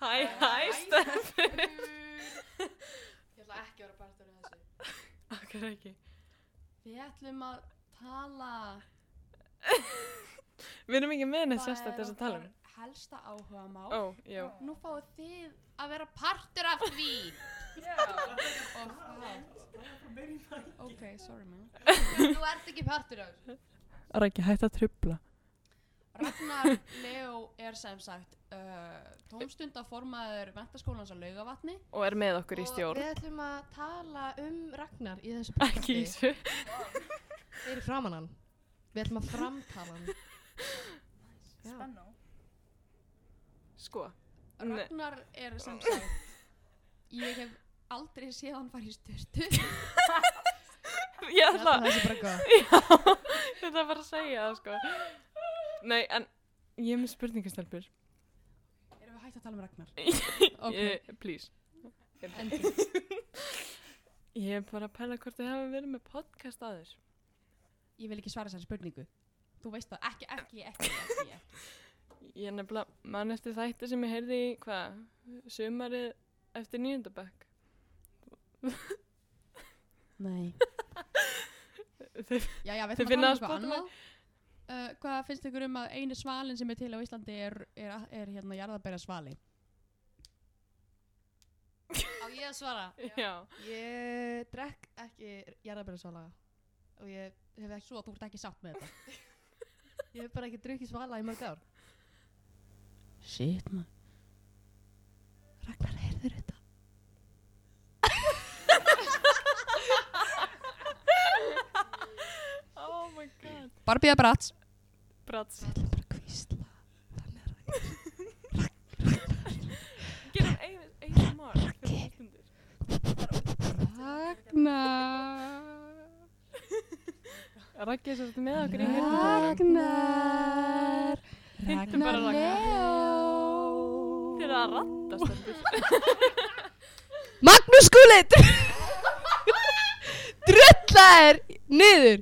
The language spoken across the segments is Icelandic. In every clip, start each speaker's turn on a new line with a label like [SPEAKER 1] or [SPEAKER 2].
[SPEAKER 1] Hæ, hæ, Steffi.
[SPEAKER 2] Ég ætla ekki að vera partur af þessu.
[SPEAKER 1] Akkur ekki.
[SPEAKER 2] Við ætlum að tala.
[SPEAKER 1] Við erum ekki með neitt
[SPEAKER 2] Það
[SPEAKER 1] sérstætt
[SPEAKER 2] er
[SPEAKER 1] þess að tala um.
[SPEAKER 2] okkar Helsta áhuga
[SPEAKER 1] Ó, já.
[SPEAKER 2] Nú fáið þið að vera partur af því.
[SPEAKER 3] Já,
[SPEAKER 2] Og hvað?
[SPEAKER 3] það
[SPEAKER 2] Ok, sorry man. Þú ert ekki partur af þessu.
[SPEAKER 1] Rækki, hætt að trubla.
[SPEAKER 2] Ragnar Leo er sem sagt uh, tómstundaformaður mentaskólans á Laugavatni.
[SPEAKER 1] Og er með okkur í
[SPEAKER 2] Og
[SPEAKER 1] stjórn.
[SPEAKER 2] við ætlum að tala um Ragnar í þessu
[SPEAKER 1] Ekki í þessu.
[SPEAKER 2] Fyrir framan hann. Við ætlum að framtala hann. Já.
[SPEAKER 3] Spennó.
[SPEAKER 1] Sko. Nei.
[SPEAKER 2] Ragnar er sem sagt, ég hef aldrei séð hann fara í styrtu.
[SPEAKER 1] Ég ætla,
[SPEAKER 2] það sé bara góð.
[SPEAKER 1] ég ætla bara að segja það, sko. Nei, en ég er með spurningastelpur.
[SPEAKER 2] Erum við hægt að tala um Ragnar?
[SPEAKER 1] Ok.
[SPEAKER 2] Ok,
[SPEAKER 1] please.
[SPEAKER 2] endur.
[SPEAKER 1] Ég er bara að pæla hvort þið hafa verið með podcast aður.
[SPEAKER 2] Ég vil ekki svara þessari spurningu. Þú veist það, ekki, ekki, ekki, ekki, ekki.
[SPEAKER 1] Ég er nefnilega, mann eftir þætti sem ég heyrði í, hvað, sumarið eftir nýjöndabæk.
[SPEAKER 2] Nei.
[SPEAKER 1] Þeir,
[SPEAKER 2] Já, já,
[SPEAKER 1] Þið
[SPEAKER 2] við ætlum að tala um
[SPEAKER 1] finnið á
[SPEAKER 2] eitthvað
[SPEAKER 1] Spotify?
[SPEAKER 2] annað. Uh, hvað finnst ykkur um að einu svalin sem er til á Íslandi er, er, er hérna jarðabæra svali? Á ég að svara?
[SPEAKER 1] já.
[SPEAKER 2] Ég drekk ekki jarðabæra og ég hef ekki Svo þú ert ekki sátt með þetta Ég hef bara ekki drukkið svala í mörg ár Shit man Ragnar, heyrður þetta?
[SPEAKER 1] Oh my god.
[SPEAKER 2] Barbie að brats
[SPEAKER 1] Brats.
[SPEAKER 2] ætlum bara að kvísla Þannig að
[SPEAKER 1] Gerum ASMR fyrir hlustundur.
[SPEAKER 2] Ragnar
[SPEAKER 1] Raggi er svolítið með okkur í heyrnartólunum.
[SPEAKER 2] Ragnar
[SPEAKER 1] Hittum bara
[SPEAKER 2] Ragnar
[SPEAKER 1] Ragnar.
[SPEAKER 2] Leo
[SPEAKER 1] Þeir eru að ratta stelpur.
[SPEAKER 4] Magnús Skúli Drullar Niður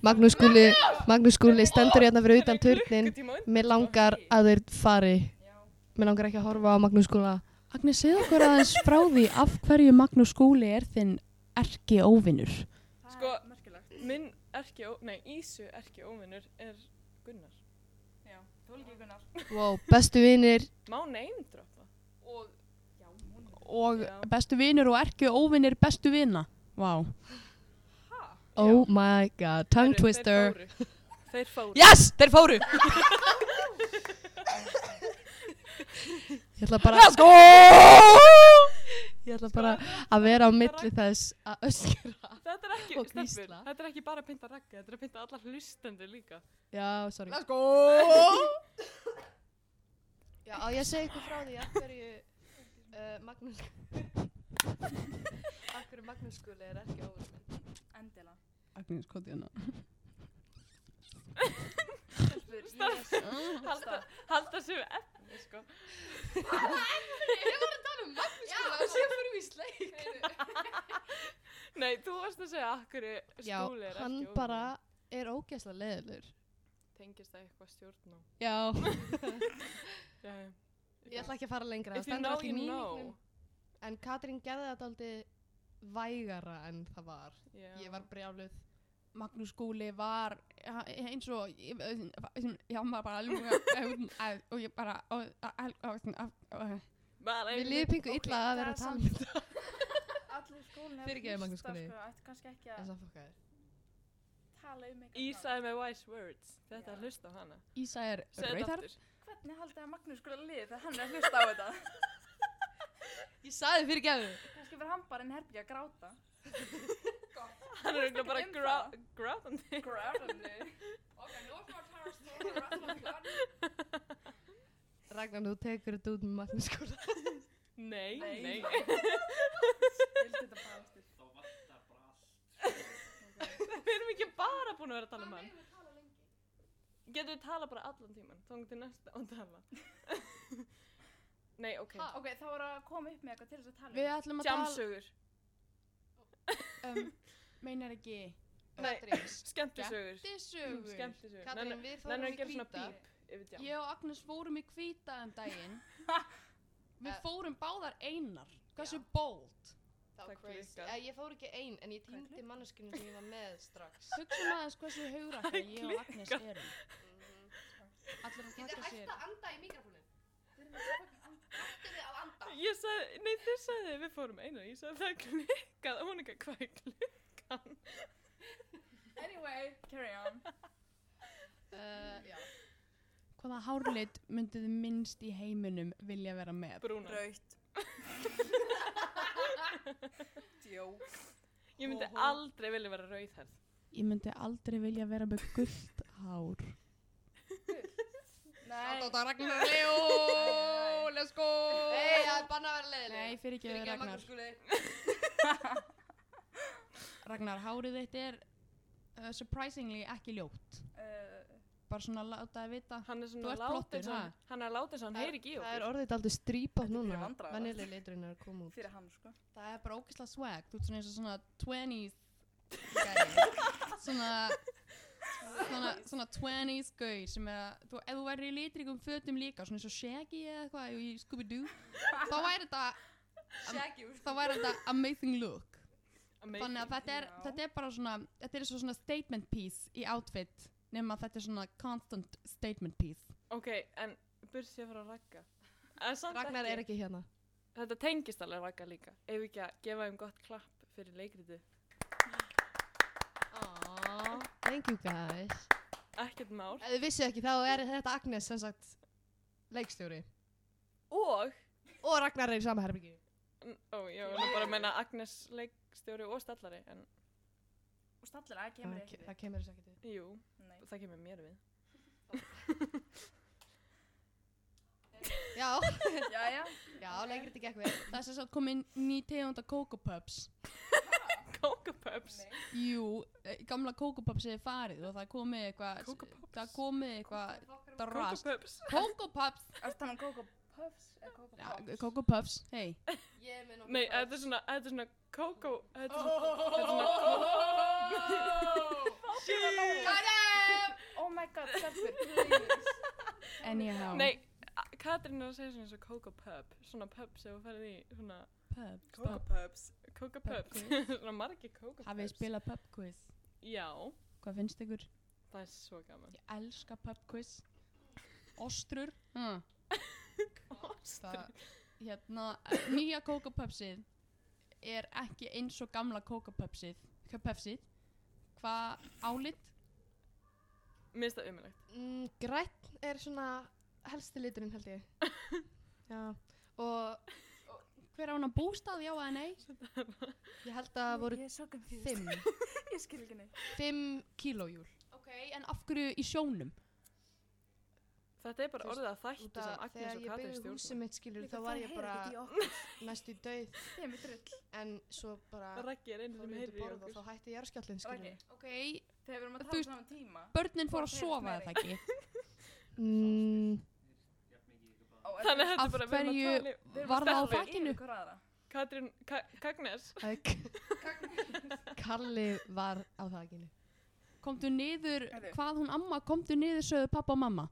[SPEAKER 4] Magnús Skúli Magnús Skúli stendur hérna fyrir utan turnin Mér langar að þeir fari Mér langar ekki að horfa á Magnús Skúla
[SPEAKER 2] Agnes, segð okkur aðeins frá því af hverju Magnús Skúli er þinn erki óvinnur
[SPEAKER 1] Sko-
[SPEAKER 3] er merkilegt.
[SPEAKER 1] Minn erki, ó- nei, Ísu erki óvinnur er Gunnar.
[SPEAKER 3] Já, þú vil ekki Gunnar.
[SPEAKER 4] wow, Bestu vinir
[SPEAKER 1] Má neymdroppa. Og
[SPEAKER 3] Já, hún er.
[SPEAKER 2] og
[SPEAKER 1] Já.
[SPEAKER 2] bestu vinnur og erki óvinnur bestu vinna Vá
[SPEAKER 4] Oh my god, tongue
[SPEAKER 1] Heyrðu,
[SPEAKER 4] twister
[SPEAKER 1] Þeir fóru. Þeir fóru.
[SPEAKER 4] Yes, þeir fóru Ég ætla bara Let's go Ég ætla bara að vera á milli þess að öskra
[SPEAKER 1] Þetta er ekki,
[SPEAKER 4] Og
[SPEAKER 1] stelpur,
[SPEAKER 4] hvísla.
[SPEAKER 1] þetta er ekki bara að pynta raggi, þetta er að pynta allar hlustendur líka.
[SPEAKER 4] Já, sorry
[SPEAKER 2] go
[SPEAKER 4] Já, á ég segi ykkur frá því af hverju uh, Magnús Af hverju Magnús skuli er ekki óvinn minn
[SPEAKER 3] Endila.
[SPEAKER 2] Agnes, hvað er þetta?
[SPEAKER 4] Stelpur, ég
[SPEAKER 1] Halda, halda sér við efni, sko.
[SPEAKER 4] Já, sér fyrir mig sleik
[SPEAKER 1] Nei, þú varst að segja akkur skúli
[SPEAKER 4] Já,
[SPEAKER 1] er ekki
[SPEAKER 4] hann
[SPEAKER 1] óvinnur.
[SPEAKER 4] bara er ógeðslega leðilur
[SPEAKER 1] Tengist það eitthvað stjórn á.
[SPEAKER 4] Já,
[SPEAKER 1] Já, já.
[SPEAKER 4] ég ætla ekki að fara lengra
[SPEAKER 1] If you
[SPEAKER 4] stendur
[SPEAKER 1] know,
[SPEAKER 4] allt í
[SPEAKER 1] you
[SPEAKER 4] mínum.
[SPEAKER 1] know.
[SPEAKER 4] En Katrín gerði þetta aldrei vægara en það var.
[SPEAKER 1] Já.
[SPEAKER 4] Ég var brjáluð.
[SPEAKER 2] Magnús Skúli var ha- eins og ég- já, maður bara alveg og ég bara og- og- og- og- og-
[SPEAKER 1] Bara
[SPEAKER 4] Mér
[SPEAKER 1] einmitt.
[SPEAKER 4] liði pingu illa
[SPEAKER 3] ok,
[SPEAKER 4] að vera
[SPEAKER 3] það er
[SPEAKER 4] að tala um þetta.
[SPEAKER 3] Allir skólinn er
[SPEAKER 4] Fyrirgefðu, Magnús skóli.
[SPEAKER 3] Sko, ætti kannski ekki
[SPEAKER 4] En
[SPEAKER 3] að
[SPEAKER 4] það fokkaði.
[SPEAKER 3] tala um eitthvað.
[SPEAKER 1] Ísa er með wise words. Þetta er hlust á hana.
[SPEAKER 2] Ísa er
[SPEAKER 1] Segð þetta
[SPEAKER 2] rauðar
[SPEAKER 1] aftur.
[SPEAKER 3] Hvernig haldið að Magnús skóla liði þegar hann er að hlusta á þetta?
[SPEAKER 4] Ég saði fyrir gefðu.
[SPEAKER 3] Kannski verið hann bara en herbygja að gráta.
[SPEAKER 1] Hann er auðvitað bara
[SPEAKER 3] Um það.
[SPEAKER 1] grá- grátandi.
[SPEAKER 3] Gráðandi. um
[SPEAKER 4] Ragnar, þú tekur þetta út með Magnús skóla.
[SPEAKER 1] Nei,
[SPEAKER 3] Nei.
[SPEAKER 1] nei.
[SPEAKER 3] Vildi þetta bara aftur.
[SPEAKER 1] Við erum ekki bara búin að vera að tala um hann. Getum við tala bara allan tíman. Þá til næsta og tala. Nei, ok.
[SPEAKER 3] Ok, þá var að koma upp með eitthvað til þess að tala um.
[SPEAKER 2] Við ætlum að tala
[SPEAKER 1] Jamsugur.
[SPEAKER 2] um meinar ekki
[SPEAKER 1] Nei.
[SPEAKER 4] Katrín,
[SPEAKER 1] Skemmtisögur.
[SPEAKER 2] Dissugur
[SPEAKER 1] Skemmtisögur.
[SPEAKER 4] Katrín,
[SPEAKER 1] Nenna
[SPEAKER 4] við fórum
[SPEAKER 1] að
[SPEAKER 4] í
[SPEAKER 1] gera svona
[SPEAKER 4] kvíta.
[SPEAKER 1] bíp yfir djám.
[SPEAKER 2] Ég og Agnes fórum í hvíta um daginn. Við
[SPEAKER 4] Eh.
[SPEAKER 2] fórum báðar einar. Hversu
[SPEAKER 4] Já.
[SPEAKER 2] bold.
[SPEAKER 4] Það
[SPEAKER 1] Það
[SPEAKER 4] var crazy.
[SPEAKER 1] klikkar.
[SPEAKER 4] Eh, Ég fór ekki einn, en ég
[SPEAKER 3] Hvað er
[SPEAKER 4] týndi manneskinu sem ég var með strax.
[SPEAKER 2] Hugsa aðeins hversu hugrakka ég og Agnes erum.
[SPEAKER 4] Mhm.
[SPEAKER 2] Allir að
[SPEAKER 4] Þið er
[SPEAKER 2] taka
[SPEAKER 4] hægt
[SPEAKER 2] sér.
[SPEAKER 4] að anda í mikrofónin.
[SPEAKER 3] Þeir eru með fucking anda.
[SPEAKER 4] Hættu þið að anda.
[SPEAKER 1] Ég sagði, nei þið sagði við fórum einar, ég sagði það er klikkað, og hún ekki hvað er klikkan.
[SPEAKER 3] Anyway, carry on.
[SPEAKER 4] Uh, já.
[SPEAKER 2] Hvaða hárlit myndið þið minnst í heiminum vilja vera með?
[SPEAKER 1] Brúna.
[SPEAKER 3] Raut. Djók.
[SPEAKER 1] Ég myndi
[SPEAKER 3] Hóhó.
[SPEAKER 1] aldrei vilja vera rauðherð.
[SPEAKER 2] Ég myndi aldrei vilja vera með gullt hár.
[SPEAKER 3] Nei.
[SPEAKER 4] Sátt á Ragnar Leo, let's go. Nei, það er banna að vera leiðileg.
[SPEAKER 2] Nei, fyrir ekki
[SPEAKER 4] Fyrir
[SPEAKER 2] við
[SPEAKER 4] ekki að
[SPEAKER 2] Ragnar.
[SPEAKER 4] Magnús skuli.
[SPEAKER 2] Ragnar, hárið þitt er uh, surprisingly ekki ljótt.
[SPEAKER 3] Uh,
[SPEAKER 2] Bara svona láta að vita.
[SPEAKER 1] Hann er
[SPEAKER 2] Þú
[SPEAKER 1] svona
[SPEAKER 2] ert flottur,
[SPEAKER 1] látið svo,
[SPEAKER 2] ha?
[SPEAKER 1] hann er látið svo, hann
[SPEAKER 4] Það er-
[SPEAKER 1] heyri ekki í
[SPEAKER 4] Það er
[SPEAKER 1] okkur.
[SPEAKER 4] orðið aldrei strýpað
[SPEAKER 3] Þetta er
[SPEAKER 4] núna.
[SPEAKER 3] fyrir vandræðalegt.
[SPEAKER 4] Venjuleg liturinn er að koma út.
[SPEAKER 3] fyrir hann, sko.
[SPEAKER 2] Það er bara ógeðslega swag. Þú ert svona eins og svona 20s gæi. svona, svona, svona 20s gauð sem er að, þú, ef þú væri í litríkum fötum líka, svona eins og Shaggy eða eitthvað í Scooby-Doo, þá væri þetta,
[SPEAKER 3] Shaggy,
[SPEAKER 2] þá væri þetta amazing look.
[SPEAKER 1] Amazing.
[SPEAKER 2] Þannig að þetta er,
[SPEAKER 3] Já.
[SPEAKER 2] þetta er bara svona, þetta er eins og svona statement piece í outfit, nema að þetta er svona constant statement piece.
[SPEAKER 1] Ok, en burs ég frá ragga. En samt
[SPEAKER 4] Ragnar er ekki hérna.
[SPEAKER 1] Þetta tengist alveg ragga líka. Ef ekki að gefa þeim gott klapp fyrir leikritið.
[SPEAKER 4] Aww. Thank you guys.
[SPEAKER 1] Ekkert mál.
[SPEAKER 4] Ef þið vissu ekki þá er þetta Agnes sem sagt leikstjóri.
[SPEAKER 1] Og,
[SPEAKER 4] Og Ragnar er í sama herbyggju.
[SPEAKER 1] n- ó, ég var nú bara að menna Agnes leikstjóri og stallari, en
[SPEAKER 3] Og stallir að kemur ekki
[SPEAKER 4] Það kemur þess ekkert við.
[SPEAKER 1] jú,
[SPEAKER 3] við. Nei.
[SPEAKER 1] það kemur mér við.
[SPEAKER 4] Já,
[SPEAKER 3] Jæja.
[SPEAKER 4] já, leikrið ekki ekki við.
[SPEAKER 2] Það er sem sagt komin ný tegund af Coco Puffs.
[SPEAKER 1] Coco Pups.
[SPEAKER 3] Nei.
[SPEAKER 2] Jú, eh, gamla Kókopopsi er farið og það er komið eitthvað
[SPEAKER 1] Coco Pops?
[SPEAKER 2] það er komið eitthvað
[SPEAKER 1] Coco
[SPEAKER 2] drast
[SPEAKER 1] Pups.
[SPEAKER 2] Kókopops
[SPEAKER 3] Ertu þannig um Coco Puffs eða Coco Pops?
[SPEAKER 2] Kókopops, hei
[SPEAKER 4] Ég er með nokkuð.
[SPEAKER 1] Nei, þetta er svona, þetta er svona Coco, þetta er svona, þetta er svona
[SPEAKER 3] Oh my god, Stefur, please.
[SPEAKER 2] Anyhow
[SPEAKER 1] Nei, a- Katrín er að segja svona eins og Coco Pub, svona pub sem þú ferði í, svona
[SPEAKER 2] Pubs
[SPEAKER 1] Coco-
[SPEAKER 3] Pups.
[SPEAKER 1] Coco
[SPEAKER 2] Pub
[SPEAKER 1] Pubs, svona margi Coco Pubs.
[SPEAKER 2] Hafið þið spilað pub quiz?
[SPEAKER 1] Já,
[SPEAKER 2] Hvað finnst ykkur?
[SPEAKER 1] það er svo gaman.
[SPEAKER 2] Ég elska pub quiz Ostrur huh. Það, hérna, eh, nýja Kókopopsið er ekki eins og gamla Kókopopsið Kókopopsið Hvað álit?
[SPEAKER 1] Mér finnst það umilegt.
[SPEAKER 4] Mm, grætt er svona helsti liturinn held ég. já, og
[SPEAKER 2] Hver á hana bústað, já eða nei?
[SPEAKER 4] ég held að það voru
[SPEAKER 3] Ég er svo confused.
[SPEAKER 4] fimm.
[SPEAKER 3] Ég skil ekki neitt.
[SPEAKER 4] Fimm kílójúl.
[SPEAKER 2] Ok, en af hverju í sjónum?
[SPEAKER 1] Þetta er bara
[SPEAKER 4] Þú veist,
[SPEAKER 1] orðið að þættu sem Agnes
[SPEAKER 4] Þegar
[SPEAKER 1] og
[SPEAKER 4] ég
[SPEAKER 1] Katrín
[SPEAKER 4] byggði húsið
[SPEAKER 1] stjórnum.
[SPEAKER 4] mitt skilur þá var ég bara næstu í dauð
[SPEAKER 3] Þeim er drull.
[SPEAKER 4] en svo bara
[SPEAKER 1] Raggi er einu
[SPEAKER 4] fór
[SPEAKER 1] sem
[SPEAKER 4] ég út að
[SPEAKER 1] heyrir í
[SPEAKER 4] borða og
[SPEAKER 1] okkur.
[SPEAKER 4] þá hætti jarðskjallin skilur.
[SPEAKER 3] Raggi,
[SPEAKER 2] Ok,
[SPEAKER 3] þegar við erum að
[SPEAKER 2] Þú
[SPEAKER 3] tala
[SPEAKER 2] veist-
[SPEAKER 3] saman tíma.
[SPEAKER 2] börnin fór að
[SPEAKER 3] Fór að
[SPEAKER 2] sofa
[SPEAKER 3] heyrast
[SPEAKER 2] eða ekki
[SPEAKER 4] Mm,
[SPEAKER 3] Ó, er-
[SPEAKER 1] Þannig að þetta
[SPEAKER 2] Af
[SPEAKER 1] er bara, við erum
[SPEAKER 2] hverju-
[SPEAKER 1] að tala um,
[SPEAKER 3] við erum að
[SPEAKER 2] var það á
[SPEAKER 3] stelpur yfir
[SPEAKER 2] þakinu?
[SPEAKER 3] hvor aðra.
[SPEAKER 1] Katrín, Ka- Kagnes,
[SPEAKER 4] það er Kalli var á þakinu.
[SPEAKER 2] Komdu niður,
[SPEAKER 3] Heyrðu.
[SPEAKER 2] hvað hún amma Komdu niður sögðu pappa og mamma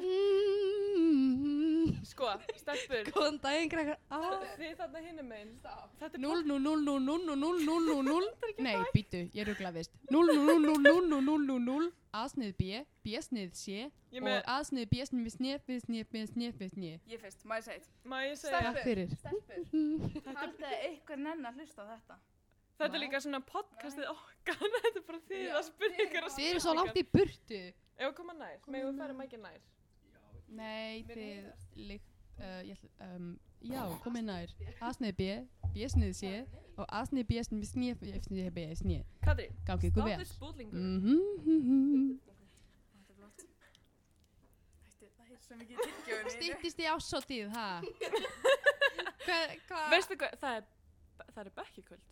[SPEAKER 2] Mhm.
[SPEAKER 4] Mm,
[SPEAKER 1] sko, stelpur,
[SPEAKER 4] góðan daginn, krakkar. Ah.
[SPEAKER 1] þið þarna hinum einn, þetta er
[SPEAKER 2] 0, 0, 0, 0, 0, 0, 0, 0, 0 Nei, býtu, ég ruggla vist 0, 0, 0, 0, 0, 0, 0, 0 A snið B, B snið C
[SPEAKER 1] Ég með,
[SPEAKER 2] Og A snið B snið við snið við snið við snið við snið
[SPEAKER 3] Ég fyrst, maður segið.
[SPEAKER 1] má ég segja,
[SPEAKER 4] Stelpur. Takk fyrir.
[SPEAKER 3] Stelpur, haldið að eitthvað nenn að hlusta á þetta.
[SPEAKER 1] þetta er
[SPEAKER 2] Nei.
[SPEAKER 1] líka svona podcastið okkar, þetta er bara þið
[SPEAKER 3] Já,
[SPEAKER 1] að spyrja
[SPEAKER 3] þið
[SPEAKER 1] ykkur
[SPEAKER 3] bara-
[SPEAKER 1] að
[SPEAKER 4] Þið eru svo langt í burtu.
[SPEAKER 1] Ef við koma nær,
[SPEAKER 2] Komum
[SPEAKER 1] megum við
[SPEAKER 2] nær.
[SPEAKER 1] færum ekki nær.
[SPEAKER 2] Nei,
[SPEAKER 3] Mér
[SPEAKER 2] þið
[SPEAKER 3] leiðast.
[SPEAKER 2] líkt uh, ég, ætla- um, Já, komið nær A snið B, B snið C Og A snið B snið við snið við snið við snið
[SPEAKER 1] Katrín,
[SPEAKER 2] Gangi ykkur vel Mm.
[SPEAKER 1] stáður spúlingur.
[SPEAKER 2] Mhm.
[SPEAKER 3] Þetta er blott. Ætti, það er svo mikið tilgjöfni.
[SPEAKER 2] Stýttist í ásótið, ha? Hvað? Hva?
[SPEAKER 1] Veistu hvað, það er, það er bekk í kvöld.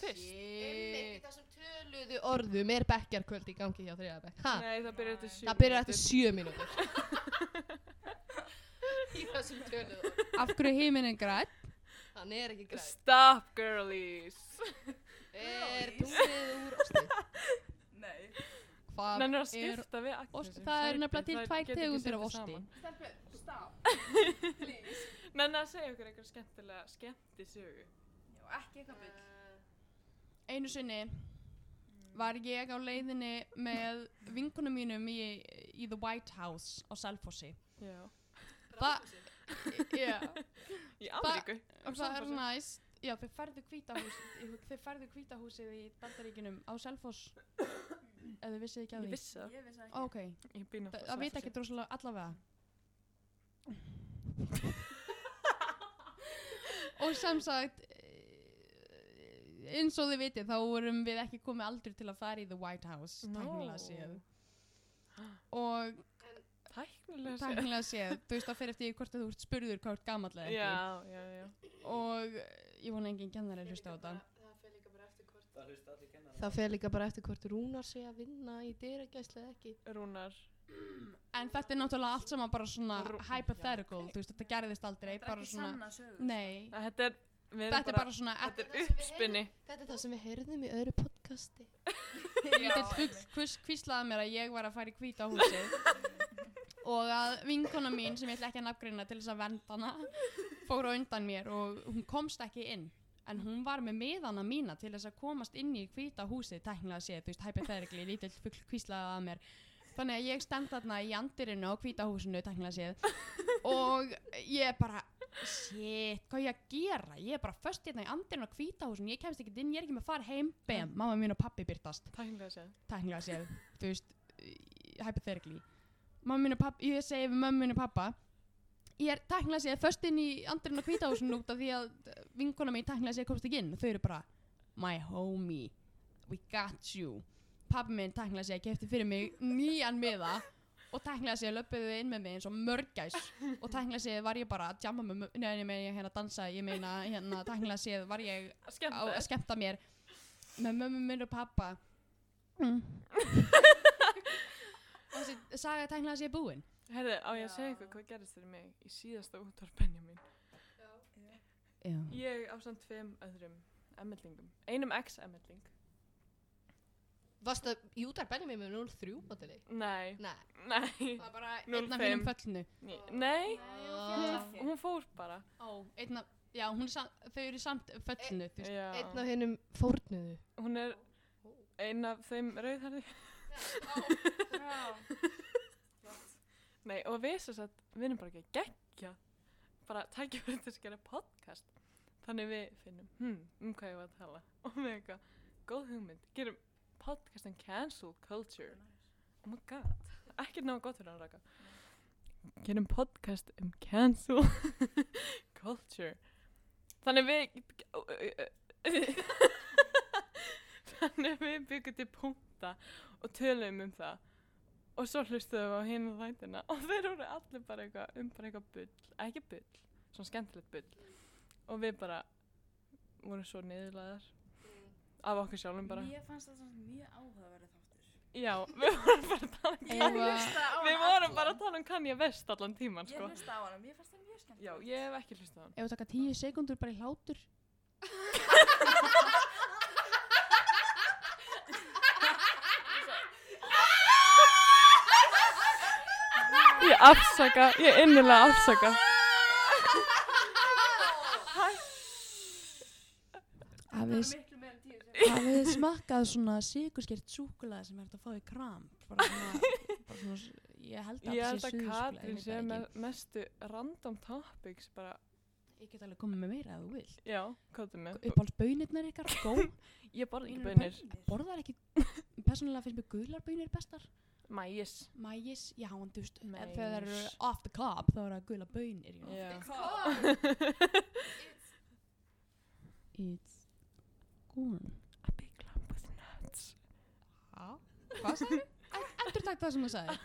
[SPEAKER 1] Fyrst.
[SPEAKER 4] Einmitt í þessum töluðu orðum er bekkjarkvöld í gangi hjá þriðabæk.
[SPEAKER 2] Ah.
[SPEAKER 4] Ha?
[SPEAKER 1] Nei, það byrjar eftir
[SPEAKER 3] Nei.
[SPEAKER 1] sjö.
[SPEAKER 4] Það byrjar eftir
[SPEAKER 1] mínútur.
[SPEAKER 4] sjö mínútur. í þessum töluðu orðum.
[SPEAKER 2] Af hverju heiminn er græn?
[SPEAKER 4] Hann er ekki græn.
[SPEAKER 1] Stop girlies.
[SPEAKER 4] Er tunglið úr osti?
[SPEAKER 3] Nei.
[SPEAKER 2] kebab
[SPEAKER 1] Nennir að
[SPEAKER 2] er-
[SPEAKER 1] skipta við akrinsi
[SPEAKER 2] ost- það er nefnilega til tvær tegundir af osti.
[SPEAKER 3] Stelpur, stop. Please.
[SPEAKER 1] Nennir að segja okkur einhver skemmtilega skemmtisögu
[SPEAKER 3] Já, ekki eitthvað bull.
[SPEAKER 2] Einu sinni var ég á leiðinni með vinkunum mínum í, í The White House á Selfossi.
[SPEAKER 1] Já
[SPEAKER 2] Það, já,
[SPEAKER 1] Í Ameríku
[SPEAKER 2] og það er
[SPEAKER 1] Selfossi.
[SPEAKER 2] næst, já, þeir færðu hvítahúsið, þeir færðu hvítahúsið í Bandaríkinum á Selfoss, ef þið vissið ekki að
[SPEAKER 1] Ég
[SPEAKER 2] því.
[SPEAKER 1] vissi það
[SPEAKER 3] Ég vissi það ekki.
[SPEAKER 2] Ok,
[SPEAKER 1] Ég býn
[SPEAKER 2] það, um það veit ekki droslega allavega. og sem sagt, eh, eins og þið vitið, þá vorum við ekki komið aldrei til að fara í The White House, tæknilega séð. Og
[SPEAKER 1] Tæknilega séð
[SPEAKER 2] tæknilega séð, þú veist það fer eftir því hvort að þú ert spurður hvort gamall eða ekki
[SPEAKER 1] Já, já, já
[SPEAKER 2] og eh, ég vona engin kennari hlusta á þetta
[SPEAKER 5] Það hlusta allir kennar
[SPEAKER 4] Það fer líka bara eftir hvort Rúnar sé að vinna í dyragæslu eða ekki.
[SPEAKER 1] Rúnar
[SPEAKER 2] en þetta er náttúrulega allt saman bara svona
[SPEAKER 1] Rú-
[SPEAKER 2] hypothetical, þú veist þetta gerðist aldrei
[SPEAKER 3] Þetta er
[SPEAKER 2] bara
[SPEAKER 3] ekki
[SPEAKER 2] svona,
[SPEAKER 3] sanna sögur.
[SPEAKER 2] nei
[SPEAKER 1] Æ, Þetta er við erum
[SPEAKER 2] þetta er bara svona
[SPEAKER 1] Þetta
[SPEAKER 4] Þetta er
[SPEAKER 1] er
[SPEAKER 4] sem við
[SPEAKER 1] uppspinni
[SPEAKER 4] Þetta er það sem við heyrðum í öðru podcasti.
[SPEAKER 2] lítið fugg hvís- hvíslaði mér að ég var að fara í hvíta húsið og að vinkona mín sem ég ætla ekki að nafngreina til þess að venda hana fór á undan mér og hún komst ekki inn en hún var með miðana mína til þess að komast inn í hvíta húsið tæknilega séð, þú veist, hypothetically, lítill fugg hvíslaði að mér þannig að ég stend þarna í andirinu á hvíta húsinu tæknilega séð og ég bara shit, hvað á ég að gera ég er bara först hérna í andirinu á hvíta húsinu ég kemst ekki inn, ég er ekki með að fara heim, bam, mamma mín og pappi byrtast
[SPEAKER 1] Tæknilega séð
[SPEAKER 2] tæknilega séð, þú veist, í- hypothetically. Mamma mín og pappa, ég segi við mamma mín og pappa, ég er tæknilega séð först inn í andrinn á hvítahúsin út af því að eh, vinkona mín tæknilega séð komst ekki inn og þau eru bara, my homie, we got you. Pappi minn tæknilega séð kefti fyrir mig nýjan miða og tæknilega séð löpuðu inn með mig eins og mörgæs og tæknilega séð var ég bara að jamma með, neðan ég meina ég hérna dansa, ég meina hérna tæknilega séð var ég á að
[SPEAKER 1] Skemmtilegt
[SPEAKER 2] skemmta mér með mömmu minn og pappa mm. og þessi saga tæknilega sé búin
[SPEAKER 1] Herði, á ég að segja ykkur hvað gerðist fyrir mig í síðasta útvarpenja mín
[SPEAKER 2] já,
[SPEAKER 1] Ég á samt tveim öðrum emmellingum Einum ex-emmelling
[SPEAKER 4] Varst það Júdar Benjamin með 03 mótili?
[SPEAKER 1] Nei,
[SPEAKER 4] Nei.
[SPEAKER 1] nei,
[SPEAKER 2] það er bara
[SPEAKER 1] 05.
[SPEAKER 2] einn af hinum föllinu
[SPEAKER 1] ný- nei
[SPEAKER 4] Ah.
[SPEAKER 1] Hún fór bara
[SPEAKER 2] ó, einn af, já, hún er sam, þau eru samt föllinu þú veist.
[SPEAKER 1] Já.
[SPEAKER 4] Einn af hinnum fórnuðu.
[SPEAKER 1] Hún er ein af þeim rauðherði
[SPEAKER 3] Já.
[SPEAKER 1] Nei, og við sem sagt, við erum bara ekki að gegja bara tækja fyrir til að gera podcast þannig við finnum hm, um hvað ég var að tala og við eitthvað, góð hugmynd, gerum podcast um cancel culture oh my god, ekkert náðu gott fyrir hann raka gerum podcast um cancel culture þannig við þannig við byggum til punkta og tölum um það og svo hlustuðum við á hinn þættina og þeir voru allir bara eitthvað um bara eitthvað bull, ekki bull svona skemmtilegt bull og við bara vorum svo niðurlegaðar af okkur sjálfum bara
[SPEAKER 3] Mér fannst það svona mjög áhugaverð þáttur.
[SPEAKER 1] já, við vorum bara að tala um
[SPEAKER 2] Ég
[SPEAKER 1] Kanye-
[SPEAKER 2] var-
[SPEAKER 3] hlustaði á hann
[SPEAKER 1] við vorum
[SPEAKER 3] allan.
[SPEAKER 1] bara að tala um Kanye West allan tíman
[SPEAKER 3] Ég
[SPEAKER 1] sko.
[SPEAKER 3] hlusta á hann, mér fannst það mjög skemmt.
[SPEAKER 1] já, ég hef ekki hlustað á hann
[SPEAKER 2] ef við taka 10 sekundur bara í hlátur
[SPEAKER 1] ég afsaka, ég innilega afsaka
[SPEAKER 3] Það er miklu meira en tíu sem.
[SPEAKER 2] hafið smakkað svona sigurskert súkulega sem er hægt að fá í kram bara svona, bara svona s- ég held að
[SPEAKER 1] ég
[SPEAKER 2] það
[SPEAKER 1] held
[SPEAKER 2] sé
[SPEAKER 1] að
[SPEAKER 2] suðurskúla, ég
[SPEAKER 1] Katrín
[SPEAKER 2] veit
[SPEAKER 1] sé
[SPEAKER 2] það
[SPEAKER 1] með
[SPEAKER 2] ekki.
[SPEAKER 1] mestu random topics bara,
[SPEAKER 2] ég get alveg komið með meira ef þú vilt
[SPEAKER 1] já, kóttu mig
[SPEAKER 2] uppáhalds bönirnar ykkar, gó
[SPEAKER 1] ég borði ekki
[SPEAKER 2] Bönir-
[SPEAKER 1] bönir
[SPEAKER 2] bön- borðar ekki, persónulega finnst mér gular bönir bestar
[SPEAKER 1] mæjis
[SPEAKER 2] mæjis, já, en þú veist en
[SPEAKER 1] Mæs.
[SPEAKER 2] þegar það eru off the cup þá eru það gula bönir you know.
[SPEAKER 1] já,
[SPEAKER 2] it's corn
[SPEAKER 1] a big lump with nuts
[SPEAKER 2] ha? hvað sagði þau? endur takk það sem þú sagði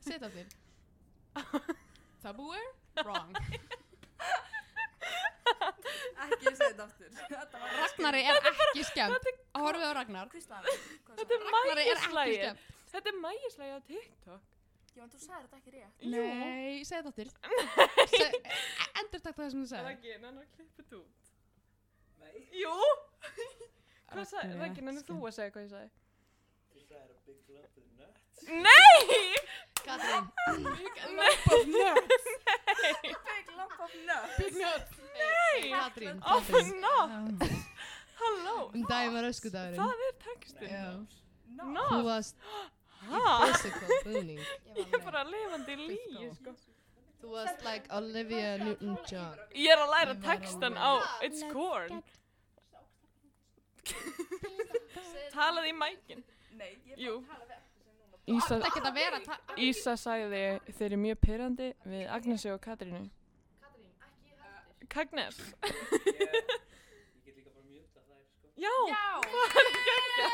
[SPEAKER 2] setja þér Tupperware? Wrong
[SPEAKER 3] Ekki segja þetta aftur. Þetta var
[SPEAKER 2] Ragnari er ekki skemmt Horfið á Ragnar
[SPEAKER 3] Hvíslaði hann. Hvað
[SPEAKER 1] Þetta
[SPEAKER 3] sagði
[SPEAKER 1] er
[SPEAKER 3] hann?
[SPEAKER 2] Ragnari er ekki
[SPEAKER 1] Maíslægið.
[SPEAKER 2] skemmt
[SPEAKER 1] Þetta er mægislega á TikTok.
[SPEAKER 3] Já, en þú sagði þetta ekki rétt.
[SPEAKER 1] Jú.
[SPEAKER 2] Nei, segja það þér Endur takk það sem þú sagði
[SPEAKER 1] Raggi, hann er klippið út.
[SPEAKER 5] Nei,
[SPEAKER 1] Jú. Hvað sagði,
[SPEAKER 2] Ragnar er
[SPEAKER 1] Raggi,
[SPEAKER 2] ekki
[SPEAKER 1] hann er þú
[SPEAKER 2] skemmt.
[SPEAKER 1] að segja hvað ég sagði.
[SPEAKER 5] þú fried a big lump with nuts.
[SPEAKER 1] Nei!
[SPEAKER 4] Katrín,
[SPEAKER 2] Lump of nuts.
[SPEAKER 3] Big lump of nuts.
[SPEAKER 2] Big nuts.
[SPEAKER 1] Nei! Oh,
[SPEAKER 4] Katrín,
[SPEAKER 1] Of
[SPEAKER 4] Katrín.
[SPEAKER 1] not! Halló!
[SPEAKER 4] Um daginn var öskudagurinn.
[SPEAKER 1] Það er textin.
[SPEAKER 4] Já.
[SPEAKER 1] Not!
[SPEAKER 4] Þú varst í
[SPEAKER 1] Ha?
[SPEAKER 4] physical búning.
[SPEAKER 1] Ég er bara lifandi í líi,
[SPEAKER 2] Physical.
[SPEAKER 1] sko.
[SPEAKER 4] Þú varst like Olivia Newton-John.
[SPEAKER 1] Ég er að læra
[SPEAKER 2] Ég var að
[SPEAKER 1] textan á
[SPEAKER 2] læra.
[SPEAKER 1] It's Corn. Talaði í mækin.
[SPEAKER 3] Nei, ég
[SPEAKER 1] Jú.
[SPEAKER 3] bara tala við eftir sem núna.
[SPEAKER 1] Ísa,
[SPEAKER 2] Það geta verið að ta-
[SPEAKER 1] Ísa sagði þeir eru mjög pyrrandi við Agnesi og Katrínu. Kagnes.
[SPEAKER 5] Ég, ég get líka bara mjúta þær, sko.
[SPEAKER 1] Já,
[SPEAKER 3] Já.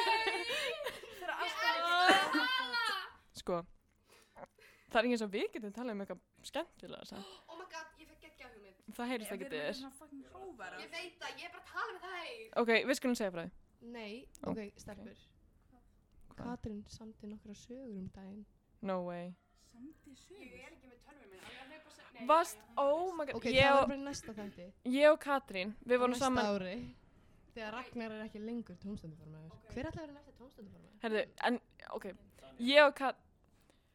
[SPEAKER 3] Þegar alltaf
[SPEAKER 1] sko. Það er ekki eins og við getum talað um eitthvað skemmtilega. Sann.
[SPEAKER 4] Oh my god, ég fekk geggja hugmynd.
[SPEAKER 1] Það heyrist ekki til þér.
[SPEAKER 3] svona hérna fucking hóvara.
[SPEAKER 4] Ég veit það, ég er bara að tala með þær.
[SPEAKER 1] Ok, við skulum segja frá því.
[SPEAKER 4] Nei,
[SPEAKER 1] Ó.
[SPEAKER 4] ok, stelpur.
[SPEAKER 1] Oh. Hvað?
[SPEAKER 4] Katrín samti nokkra sögur um daginn.
[SPEAKER 1] No way.
[SPEAKER 3] Samdi sögur.
[SPEAKER 4] ekki með tölvum minn, hann er að hlaupa sér.
[SPEAKER 1] Vast, oh my god.
[SPEAKER 4] Ok,
[SPEAKER 1] ég,
[SPEAKER 4] það var
[SPEAKER 1] og,
[SPEAKER 4] bara í næsta þætti.
[SPEAKER 1] ég og Katrín, við vorum
[SPEAKER 4] Næsta
[SPEAKER 1] saman.
[SPEAKER 4] ári. Þegar Ragnar er ekki lengur tómstönduformaður. Hver ætla að vera næsta tómstönduformaður?
[SPEAKER 1] Herðu, en, ok. Ég og Katrín,